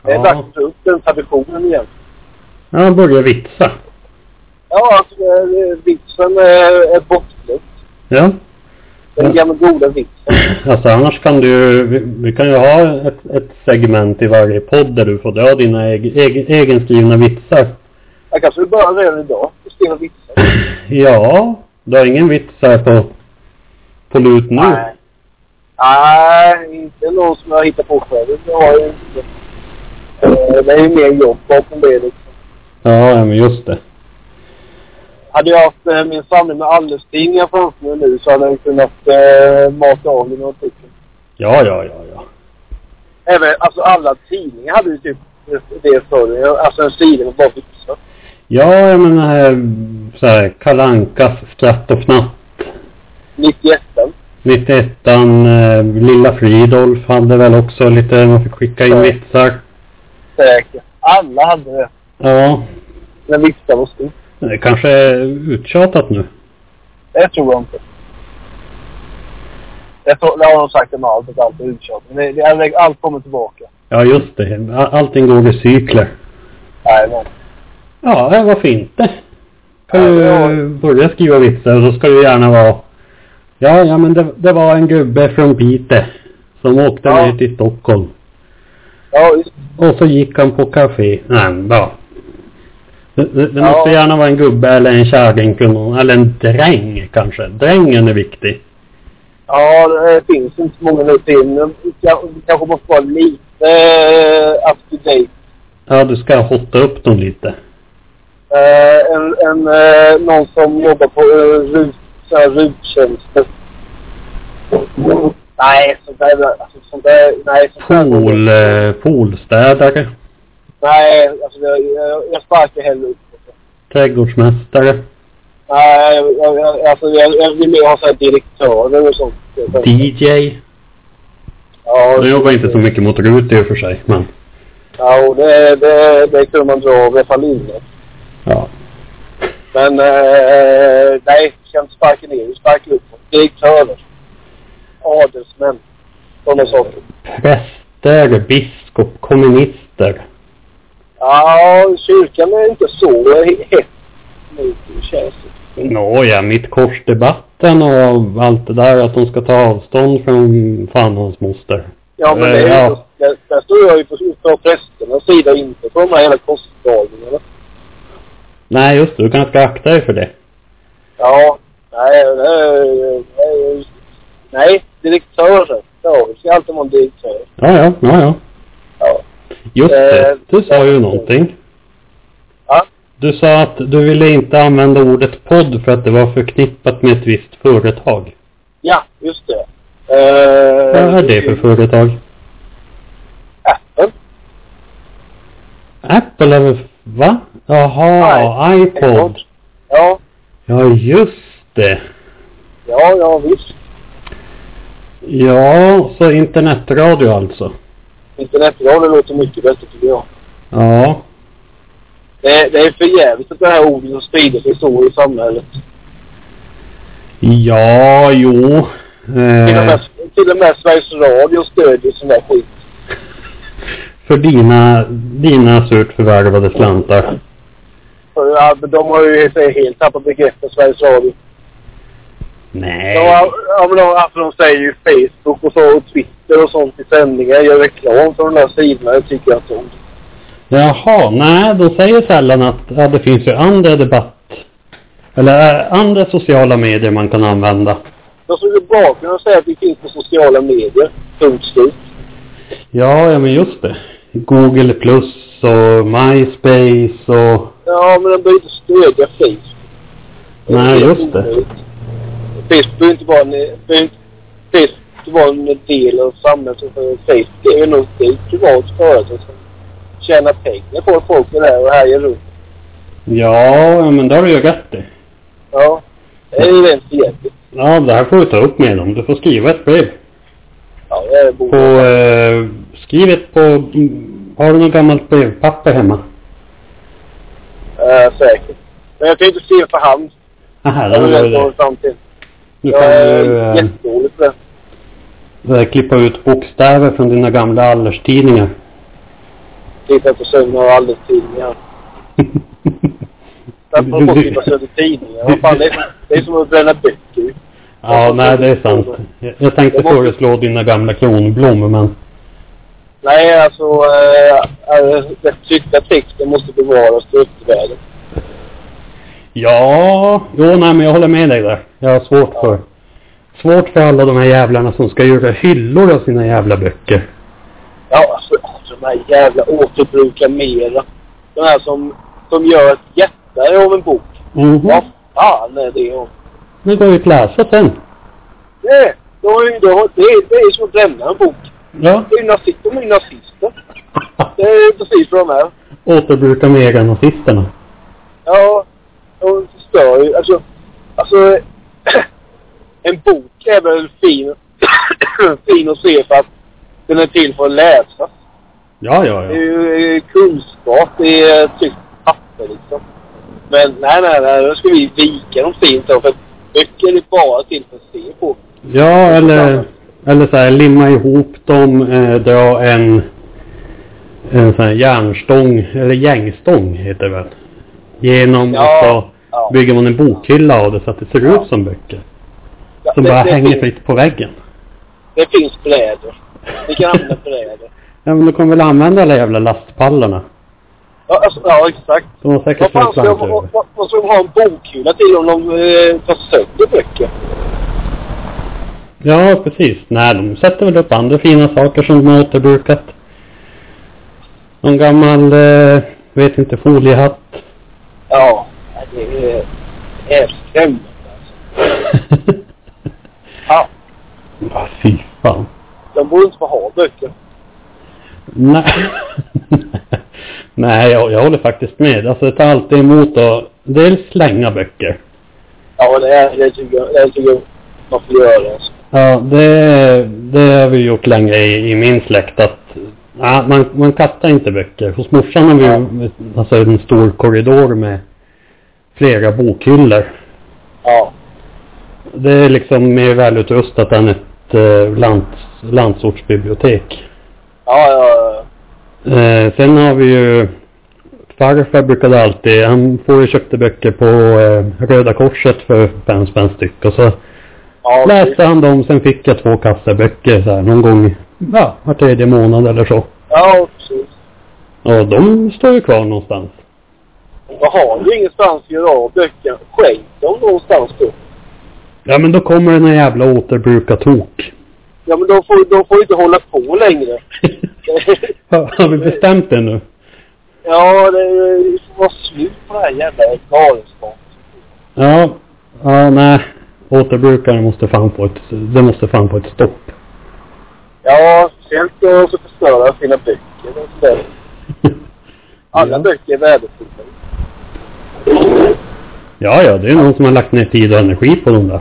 Speaker 2: Det är
Speaker 3: Ja,
Speaker 2: dags för upp den traditionen igen.
Speaker 3: han börjar vitsa.
Speaker 2: Ja, alltså det- det- vitsen är, är bortglömd.
Speaker 3: Ja.
Speaker 2: Den gamla goda vitsen.
Speaker 3: Alltså annars kan du, vi, vi kan ju ha ett, ett segment i varje podd där du får dra dina eg, eg, egenskrivna vitsar.
Speaker 2: Jag kanske vill börja redan idag på sten och vitsar.
Speaker 3: Ja, du har ingen vits här på, på lut nu.
Speaker 2: Nej. Nej, inte någon som jag hittar på själv. Det har jag inte. Eh, Det är ju mer jobb bakom det liksom.
Speaker 3: Ja, ja, men just det.
Speaker 2: Hade jag haft eh, min samling med Allestidningar framför mig nu så hade jag kunnat eh, mata av mig några stycken.
Speaker 3: Ja, ja, ja, ja.
Speaker 2: Även, alltså alla tidningar hade ju typ det förr. Alltså en sida med bara vitsar.
Speaker 3: Ja, jag menar här, så här Kalle Ankas Skratt och fnatt.
Speaker 2: 91
Speaker 3: 91 eh, Lilla Fridolf hade väl också lite, man fick skicka in
Speaker 2: Ja.
Speaker 3: vitsar.
Speaker 2: säkert. Alla hade det.
Speaker 3: Ja,
Speaker 2: När vitsar var stort.
Speaker 3: det kanske är uttjatat nu.
Speaker 2: Det tror jag inte. Jag tror, det har de sagt om allt, att allt är utkört. Men det, det, allt kommer tillbaka.
Speaker 3: Ja, just det. A- Allting går i cykler.
Speaker 2: Nej, men.
Speaker 3: Ja, eh, varför inte? Kan
Speaker 2: Ja,
Speaker 3: ju
Speaker 2: det var-
Speaker 3: börja skriva vitsar och så ska det gärna vara Ja, ja men det, det var en gubbe från Piteå som åkte
Speaker 2: Ja.
Speaker 3: ner till Stockholm.
Speaker 2: Ja, just
Speaker 3: Och så gick han på café. Nej, men ja. Det, det, det
Speaker 2: Ja.
Speaker 3: måste gärna vara en gubbe eller en kärring kunde hon- eller en dräng kanske. Drängen är viktig.
Speaker 2: Ja, det finns inte så många nu för tiden. Men vi kan- vi kanske måste vara lite eh, up to date.
Speaker 3: Ja, du ska hotta upp dem lite.
Speaker 2: Eh, en, en, eh, någon som jobbar på eh, rut, så här ruttjänster. Nej, sånt där, alltså, sånt där, nej. Sånt där,
Speaker 3: Pool, eh, poolstädare,
Speaker 2: Nej, alltså jag, jag, jag sparkar hellre upp.
Speaker 3: trädgårdsmästare,
Speaker 2: Nej, jag, jag, alltså jag, jag vill mer ha såhär direktörer och sånt.
Speaker 3: DJ.
Speaker 2: Ja,
Speaker 3: De jobbar inte så mycket mot RUT i och för sig, men
Speaker 2: Ja, och det, det, det kunde man dra av ifall inne.
Speaker 3: ja.
Speaker 2: Men eh, nej, vi ska inte sparka ner. Vi sparkar upp dem. Direktörer. Adelsmän. Sådana saker.
Speaker 3: Präster, biskop, kommunister.
Speaker 2: Ja, kyrkan är inte så he- hett nu, känns det.
Speaker 3: Nåja, mitt korsdebatten och allt det där att de ska ta avstånd från fan och hans moster.
Speaker 2: Ja, men det är ju,
Speaker 3: Eh,
Speaker 2: ja. där, där står jag ju på, på prästernas sida, inte på de här hela kostdragningarna.
Speaker 3: Nej, just det. Du kanske ska akta dig för det.
Speaker 2: Ja, nej, nej, nej, nej direktörer. Ja, vi ska alltid vara en direktör.
Speaker 3: Ja, ja, ja, ja.
Speaker 2: Ja.
Speaker 3: Just det.
Speaker 2: Eh,
Speaker 3: Du sa ju någonting.
Speaker 2: Ja.
Speaker 3: Du sa att du ville inte använda ordet podd för att det var förknippat med ett visst företag.
Speaker 2: ja, just det. Eh,
Speaker 3: Vad är det för företag?
Speaker 2: Apple?
Speaker 3: Apple eller va? Jaha, iPod.
Speaker 2: Ja,
Speaker 3: Ja, just det.
Speaker 2: ja, ja visst.
Speaker 3: Ja, så internetradio alltså.
Speaker 2: Internetradio låter mycket bättre tycker jag.
Speaker 3: Ja.
Speaker 2: Det, det är för jävligt att det här ordet har spridit sig så i samhället.
Speaker 3: Ja, jo.
Speaker 2: Till, och
Speaker 3: Eh,
Speaker 2: med, till och med Sveriges Radio stödjer sån där skit.
Speaker 3: för dina, dina surt förvärvade slantar.
Speaker 2: För ja, men de har ju i sig helt tappat begreppet Sveriges Radio.
Speaker 3: Nej.
Speaker 2: Ja, ja, men de, alltså de säger ju Facebook och så och Twitter och sånt i sändningar. Gör reklam för de där sidorna. Det tycker jag inte om.
Speaker 3: Jaha, nej, de säger sällan att ja, det finns ju andra debatt... Eller eh, andra sociala medier man kan använda.
Speaker 2: De som går bakom och säger att vi finns på sociala medier. Punkt slut.
Speaker 3: Ja, ja men just det. Google plus och MySpace och...
Speaker 2: Ja, men de behöver inte stödja Facebook.
Speaker 3: Nej, just det.
Speaker 2: Facebook behöver inte vara en, behöver- Facebook behöver vara en del av samhället. som för Facebook det är ju nog det är ett privat företag som tjänar pengar på att folk är där och härjar runt.
Speaker 3: Ja, ja, men det har du ju rätt i.
Speaker 2: Ja. Det är ju rent fientligt.
Speaker 3: Ja, det här får du ta upp med dem. Du får skriva ett brev.
Speaker 2: Ja, det är
Speaker 3: På,
Speaker 2: borde.
Speaker 3: eh, skriv ett på... Har du något gammalt brevpapper hemma?
Speaker 2: Eh, säkert. Men jag kan ju inte se för hand.
Speaker 3: Aha,
Speaker 2: Det
Speaker 3: den
Speaker 2: har
Speaker 3: var
Speaker 2: jag
Speaker 3: ju det.
Speaker 2: kommit fram till.
Speaker 3: Du
Speaker 2: Jag
Speaker 3: kan
Speaker 2: är
Speaker 3: ju eh,
Speaker 2: jättedålig på det.
Speaker 3: eh, klippa ut bokstäver från dina gamla allerstidningar.
Speaker 2: Tittar på sömn och aldrig tidningar. Därför får folk titta sönder tidningar. Vad fan, det är, det är som att bränna böcker.
Speaker 3: ja, nej det är sant. Jag, jag tänkte föreslå dina gamla kronblom, men
Speaker 2: Nej, alltså eh, eh, den tryckta texten måste bevaras till eftervärlden.
Speaker 3: Ja, jo nej men jag håller med dig där. Jag har svårt
Speaker 2: Ja.
Speaker 3: för svårt för alla de här jävlarna som ska göra hyllor av sina jävla böcker.
Speaker 2: Ja, alltså de här jävla återbruka mera. De här som, som gör ett jättare av en bok.
Speaker 3: Mhm.
Speaker 2: Vad fan är det om?
Speaker 3: Nu går vi att läsa sen.
Speaker 2: Det, då har ju- då har- det, är- det är som att bränna en bok.
Speaker 3: Ja.
Speaker 2: Det är ju nazister, de är ju nazister. Det är precis vad de är.
Speaker 3: Återbruka meganasisterna.
Speaker 2: Ja, de förstör ju. Alltså, alltså en bok är väl fin, fin att se för att den är till för att läsa.
Speaker 3: Ja, ja,
Speaker 2: Det är
Speaker 3: ja.
Speaker 2: ju eh, kunskap, det är tyckt papper liksom. Men nej, nej, nej, då ska vi vika dem fint då, för böcker är bara till för att se på.
Speaker 3: Ja, eller, eller så här, limma ihop dem, eh, dra en, en sån här järnstång, eller gängstång heter det väl. Genom
Speaker 2: Ja,
Speaker 3: och så
Speaker 2: ja.
Speaker 3: bygger man en bokhylla av det så att det ser
Speaker 2: Ja.
Speaker 3: ut som böcker.
Speaker 2: Ja,
Speaker 3: Som
Speaker 2: det,
Speaker 3: bara
Speaker 2: det,
Speaker 3: hänger
Speaker 2: finns,
Speaker 3: fritt på väggen.
Speaker 2: det finns brädor. Vi kan använda brädor.
Speaker 3: Ja men de kommer väl använda alla jävla lastpallarna.
Speaker 2: Ja, alltså, ja, exakt.
Speaker 3: De har säkert
Speaker 2: Vad fan
Speaker 3: fått
Speaker 2: ska de, vad,
Speaker 3: slantar.
Speaker 2: vad- vad ska de ha en bokhylla till om de eh, tar sönder böcker?
Speaker 3: Ja precis. Nej de sätter väl upp andra fina saker som de har återbrukat. Någon gammal, eh, vet inte, foliehatt.
Speaker 2: Ja, det är, det är skrämmande alltså. Ja,
Speaker 3: ah, fy fan.
Speaker 2: de borde inte få ha böcker.
Speaker 3: Nej. Nej jag, jag håller faktiskt med. Alltså det tar alltid emot att dels slänga böcker.
Speaker 2: Ja, det är det tycker jag, det tycker jag man får göra alltså.
Speaker 3: Ja det, det har vi gjort länge i, i min släkt att ja, man, man kastar inte böcker. Hos morsan har vi ju alltså, en stor korridor med flera bokhyllor.
Speaker 2: Ja.
Speaker 3: Det är liksom mer välutrustat än ett eh, lands, landsortsbibliotek.
Speaker 2: Ja, ja, ja.
Speaker 3: Eh, sen har vi ju farfar brukade alltid, han får ju köpte böcker på eh, Röda Korset för fem spänn styck och så
Speaker 2: ja
Speaker 3: läste han dem, sen fick jag två kassar böcker så här någon gång, ja, var tredje månad eller så.
Speaker 2: Ja, precis.
Speaker 3: Ja, de står ju kvar någonstans.
Speaker 2: Jag har ju ingenstans att göra av böckerna. Skänk dem någonstans då.
Speaker 3: Ja, men då kommer den här jävla återbruka-tok.
Speaker 2: Ja, men de får, de får inte hålla på längre.
Speaker 3: har, har vi bestämt det nu?
Speaker 2: ja, det det får vara slut på det här jävla galenskapen.
Speaker 3: Ja, ja, nej. Återbrukare måste fan få ett, det måste fan få ett stopp.
Speaker 2: Ja, sen ska de också förstöra sina böcker och sådär. Alla
Speaker 3: Ja.
Speaker 2: böcker är värdefulla.
Speaker 3: Ja, ja, det är någon som har lagt ner tid och energi på dem där.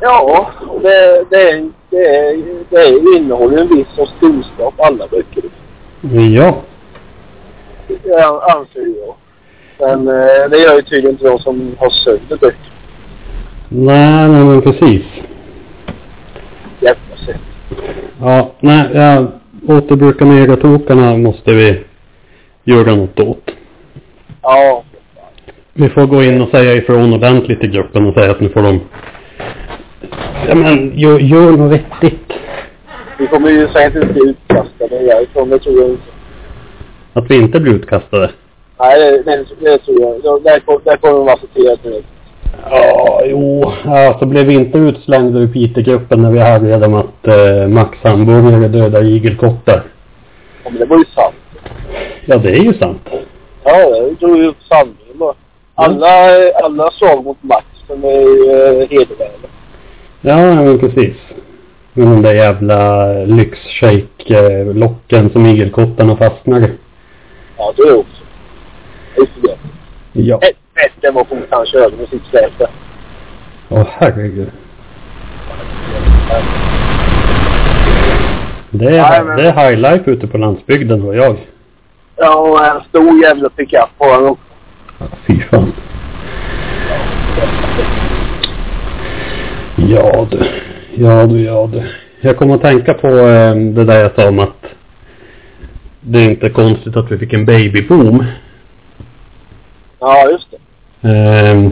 Speaker 2: Ja, och det, det, är, det, är, det är, innehåller ju en viss sorts kunskap, alla böcker.
Speaker 3: Ja.
Speaker 2: Det anser jag. Men eh, det gör ju tydligen inte de som har sönder böcker.
Speaker 3: Nej, nej, men precis.
Speaker 2: Jävla sätt.
Speaker 3: Ja, nej, ja, återbruka megatokarna måste vi göra något åt.
Speaker 2: Ja,
Speaker 3: Vi får gå in och säga ifrån ordentligt i gruppen och säga att nu får de... Ja, men gör, gör något vettigt.
Speaker 2: vi kommer ju säkert inte bli utkastade härifrån, det tror jag inte.
Speaker 3: Att vi inte blir utkastade.
Speaker 2: Nej, det, det, det tror jag inte. Där, kom- där kommer de acceptera direkt.
Speaker 3: Ja, jo. Ja, så blev vi inte utslängda ur Piteå-gruppen när vi härjade om att eh, Max hamburgare dödar igelkottar.
Speaker 2: Ja, men det var ju sant.
Speaker 3: Ja, det är ju sant.
Speaker 2: Ja, det drog ju upp sanningen bara. Alla, alla slag mot Max som är eh, hedervärda.
Speaker 3: Ja, men precis. Med de där jävla lyxshake-locken som igelkottarna fastnar i.
Speaker 2: Ja, det är också. Just det.
Speaker 3: Ja.
Speaker 2: Helvete vad fort han körde med sitt släp där.
Speaker 3: Åh, oh, herregud. Det
Speaker 2: Nej,
Speaker 3: är,
Speaker 2: men-
Speaker 3: det är high life ute på landsbygden, var jag.
Speaker 2: Ja, och en stor jävla pickup på honom också.
Speaker 3: Ja, Fy fan. Ja du. Ja du, ja du. Jag kom att tänka på eh, det där jag sa om att det är inte konstigt att vi fick en babyboom.
Speaker 2: Ja, just det.
Speaker 3: Eh,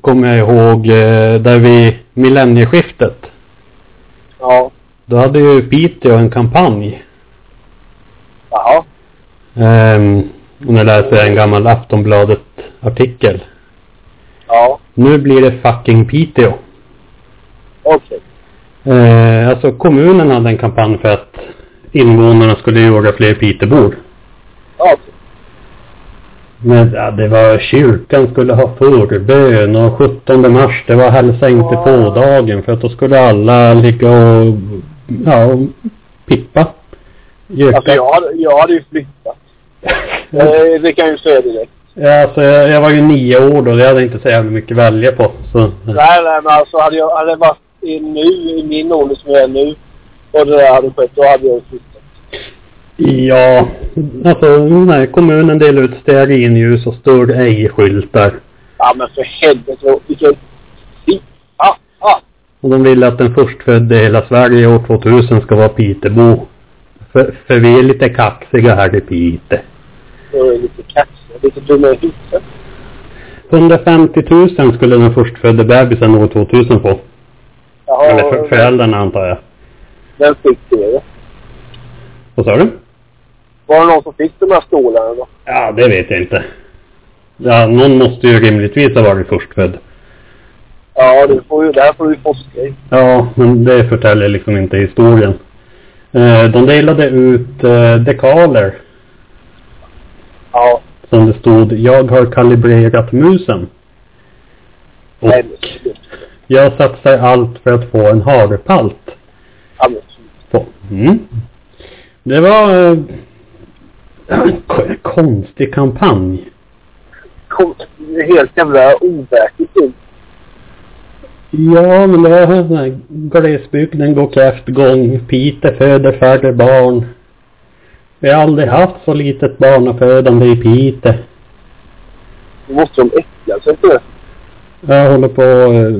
Speaker 3: kommer jag ihåg eh, där vid millennieskiftet.
Speaker 2: Ja.
Speaker 3: Då hade ju Piteå en kampanj.
Speaker 2: Jaha.
Speaker 3: Ehm, och nu läser jag en gammal Aftonbladet-artikel.
Speaker 2: Ja.
Speaker 3: Nu blir det fucking Piteå.
Speaker 2: Okej.
Speaker 3: Eh, alltså kommunen hade en kampanj för att invånarna skulle jaga fler Pitebor.
Speaker 2: Ja, okej.
Speaker 3: Men ja, det var kyrkan skulle ha förbön och 17 mars det var hälsa inte på-dagen för att då skulle alla ligga och, ja, och pippa. Göka.
Speaker 2: Alltså jag hade, jag hade ju flyttat. Eh, Det kan jag ju säga direkt.
Speaker 3: Ja, alltså, jag, jag var ju nio år då, jag hade inte så jävla mycket att välja på. Så,
Speaker 2: Nej, nej, men alltså hade jag hade jag varit i nu, i min ålder som jag är nu, och det där hade skett, då hade jag ju flyttat.
Speaker 3: ja, alltså nej, kommunen delar ut stearinljus och stör ej-skyltar.
Speaker 2: Ja, men för helvete, vilken... Fy ah, ah.
Speaker 3: Och de vill att den förstfödde i hela Sverige år 2000 ska vara Pitebo. För, för vi är lite kaxiga här i Pite.
Speaker 2: Jag är lite kaxig, lite dum i huvudet.
Speaker 3: 150 000 skulle den förstfödde bebisen år 2000 få.
Speaker 2: Jaha,
Speaker 3: Eller för, föräldrarna antar jag.
Speaker 2: den fick det.
Speaker 3: Vad sa du?
Speaker 2: Var det någon som fick de här stolarna då?
Speaker 3: Ja, det vet jag inte. Ja, någon måste ju rimligtvis ha varit förstfödd.
Speaker 2: Ja, det får ju, där får du forska i.
Speaker 3: Ja, men det förtäljer liksom inte historien. Eh, De delade ut eh, dekaler Oh.
Speaker 2: Ja,
Speaker 3: som det stod Jag har kalibrerat musen. Och
Speaker 2: nej, men sluta.
Speaker 3: jag satsar allt för att få en harpalt.
Speaker 2: Ja, men sluta.
Speaker 3: På. Mm. Det var eh, en ko- konstig kampanj.
Speaker 2: Kom, det är helt jävla overkligt ut.
Speaker 3: Ja, men det var sån här glesbygden går kräftgång, Piteå föder färre barn. Vi har aldrig haft så litet barnafödande i Piteå.
Speaker 2: Då måste de äckla sig för det.
Speaker 3: Jag håller på... eh,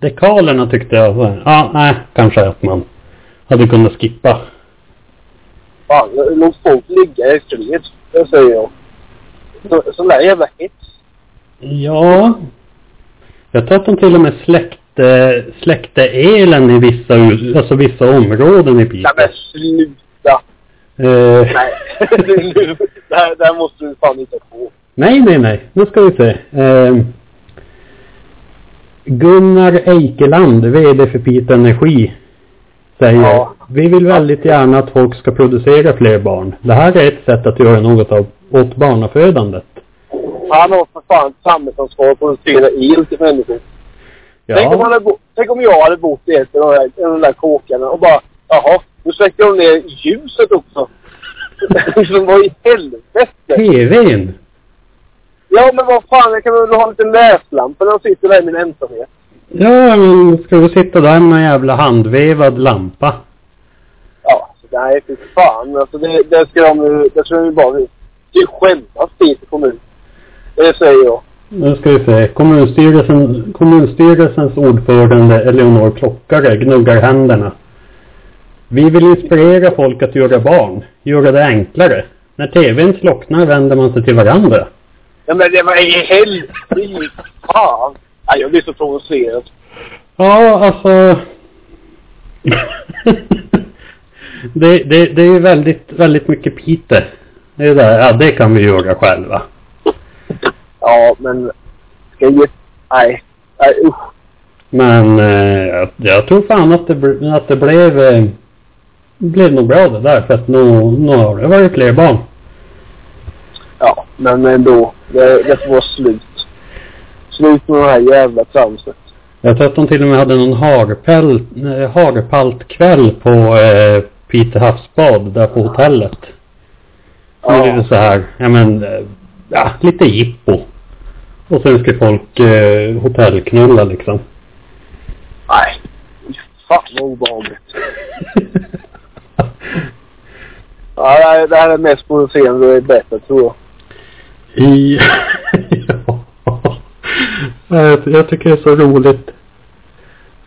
Speaker 3: Dekalerna tyckte jag så här, Ja, nej, kanske att man hade kunnat skippa.
Speaker 2: Fan, låt folk ligga i fred. Det säger jag. Så, sån där jävla hets.
Speaker 3: Ja. Jag tror att de till och med släckte, släckte elen i vissa, u- alltså vissa områden i Piteå.
Speaker 2: Nej men sluta!
Speaker 3: Eh,
Speaker 2: Nej. nu, det, här, det här måste du fan inte på.
Speaker 3: nej, nej, nej. Nu ska vi se. Eh, Gunnar Eikeland, VD för Piteå Energi, säger
Speaker 2: Ja.
Speaker 3: Vi vill väldigt gärna att folk ska producera fler barn. Det här är ett sätt att göra något av, åt barnafödandet.
Speaker 2: Han har för fan ett samhällsansvar för att producera el till människor. Tänk, om han
Speaker 3: Ja,
Speaker 2: hade bo- Tänk om jag hade bott i ett av de där, de där kåkarna och bara jaha, nu släcker de ner ljuset också. Som var i helvete!
Speaker 3: TVn.
Speaker 2: Ja men vad fan, jag kan väl ha en liten läslampa när jag sitter där i min ensamhet.
Speaker 3: Ja, men ska du sitta där med en jävla handvevad lampa?
Speaker 2: Ja, så nej fy fan. Alltså det, det ska de ju, det ska de ju bara, det skämmas dit i kommun. Det säger jag.
Speaker 3: Nu ska vi se. Kommunstyrelsen, kommunstyrelsens ordförande Eleonor Klockare gnuggar händerna. Vi vill inspirera folk att göra barn. Göra det enklare. När TVn slocknar vänder man sig till varandra.
Speaker 2: Ja, men det var i helvete! Fy Fan! Nej, jag blir så provocerad.
Speaker 3: Ja, alltså... det, det, det är ju väldigt, väldigt mycket Peter. Det är där, ja det kan vi göra själva.
Speaker 2: Ja, men... Ska jag ge... Nej. Nej, usch.
Speaker 3: Men eh, jag, jag tror fan att det, bl- att det blev, eh, blev nog bra det där. För att nu, nu har det varit fler barn.
Speaker 2: Ja, men ändå. Det, det får vara slut. Slut med det här jävla tramset.
Speaker 3: Jag tror att de till och med hade någon harpäl, eh, harpaltkväll på eh, Peter havsbad där på hotellet. Nu är det
Speaker 2: Ja.
Speaker 3: så här, ja men, eh, ja, lite jippo. Och sen ska folk eh, hotellknulla liksom.
Speaker 2: Nej. Fy Fan vad obehagligt. Ja, det här- det här är mest provocerande och det är bättre, tror jag.
Speaker 3: I... ja. Jag tycker det är så roligt.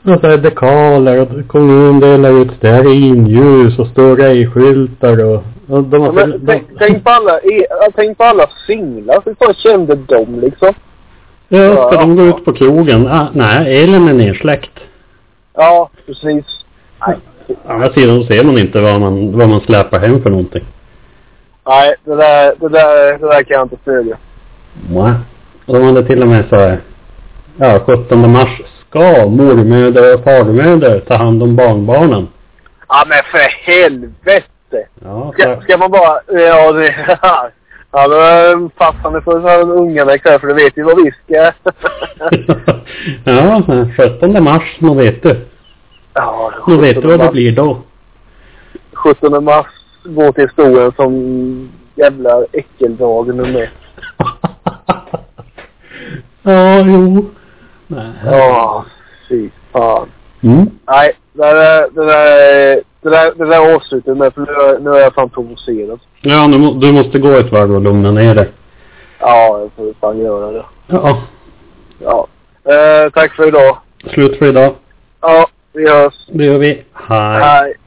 Speaker 3: Och så här dekaler och kommunen delar ut stearinljus och stora ej-skyltar och, och de har...
Speaker 2: Ja, men, tänk, tänk, på alla, e- ja, tänk på alla singlar. Hur fan kände de liksom?
Speaker 3: ja, för de går ut på krogen. Ah, nej, elen är nedsläckt.
Speaker 2: Ja, precis. Nej,
Speaker 3: Å andra sidan ser man inte vad man, vad man släpar hem för någonting.
Speaker 2: nej det, där, det, där, det där kan jag inte stödja.
Speaker 3: Mwah. Och de hade till och med så här, ja, 17 mars ska mormödrar och farmödrar ta hand om barnbarnen.
Speaker 2: Ja, men för helvete!
Speaker 3: Ja,
Speaker 2: Ska,
Speaker 3: så,
Speaker 2: ska man bara... Ja, det här. Ja, då är farsan är för så här ungarna ikväll för du vet ju vad vi ska.
Speaker 3: ja, 17 mars, nu vet du.
Speaker 2: ja,
Speaker 3: Nu vet du
Speaker 2: 17
Speaker 3: vad det
Speaker 2: mars-
Speaker 3: blir då.
Speaker 2: 17 mars går till historien som jävla äckeldagen nummer ett.
Speaker 3: ja, jo. Nej.
Speaker 2: Ja, fy fan.
Speaker 3: Mm.
Speaker 2: Nej, det där, det där, det där, det där avslutet med för nu är, nu är jag fan provocerad.
Speaker 3: Ja, nu, må- du måste gå ett varv och lugna ner dig.
Speaker 2: Ja, jag får fan göra det.
Speaker 3: Ja,
Speaker 2: Ja. Eh, tack för idag.
Speaker 3: slut för idag.
Speaker 2: Ja, vi hörs.
Speaker 3: Det gör vi. Hej.
Speaker 2: Hej.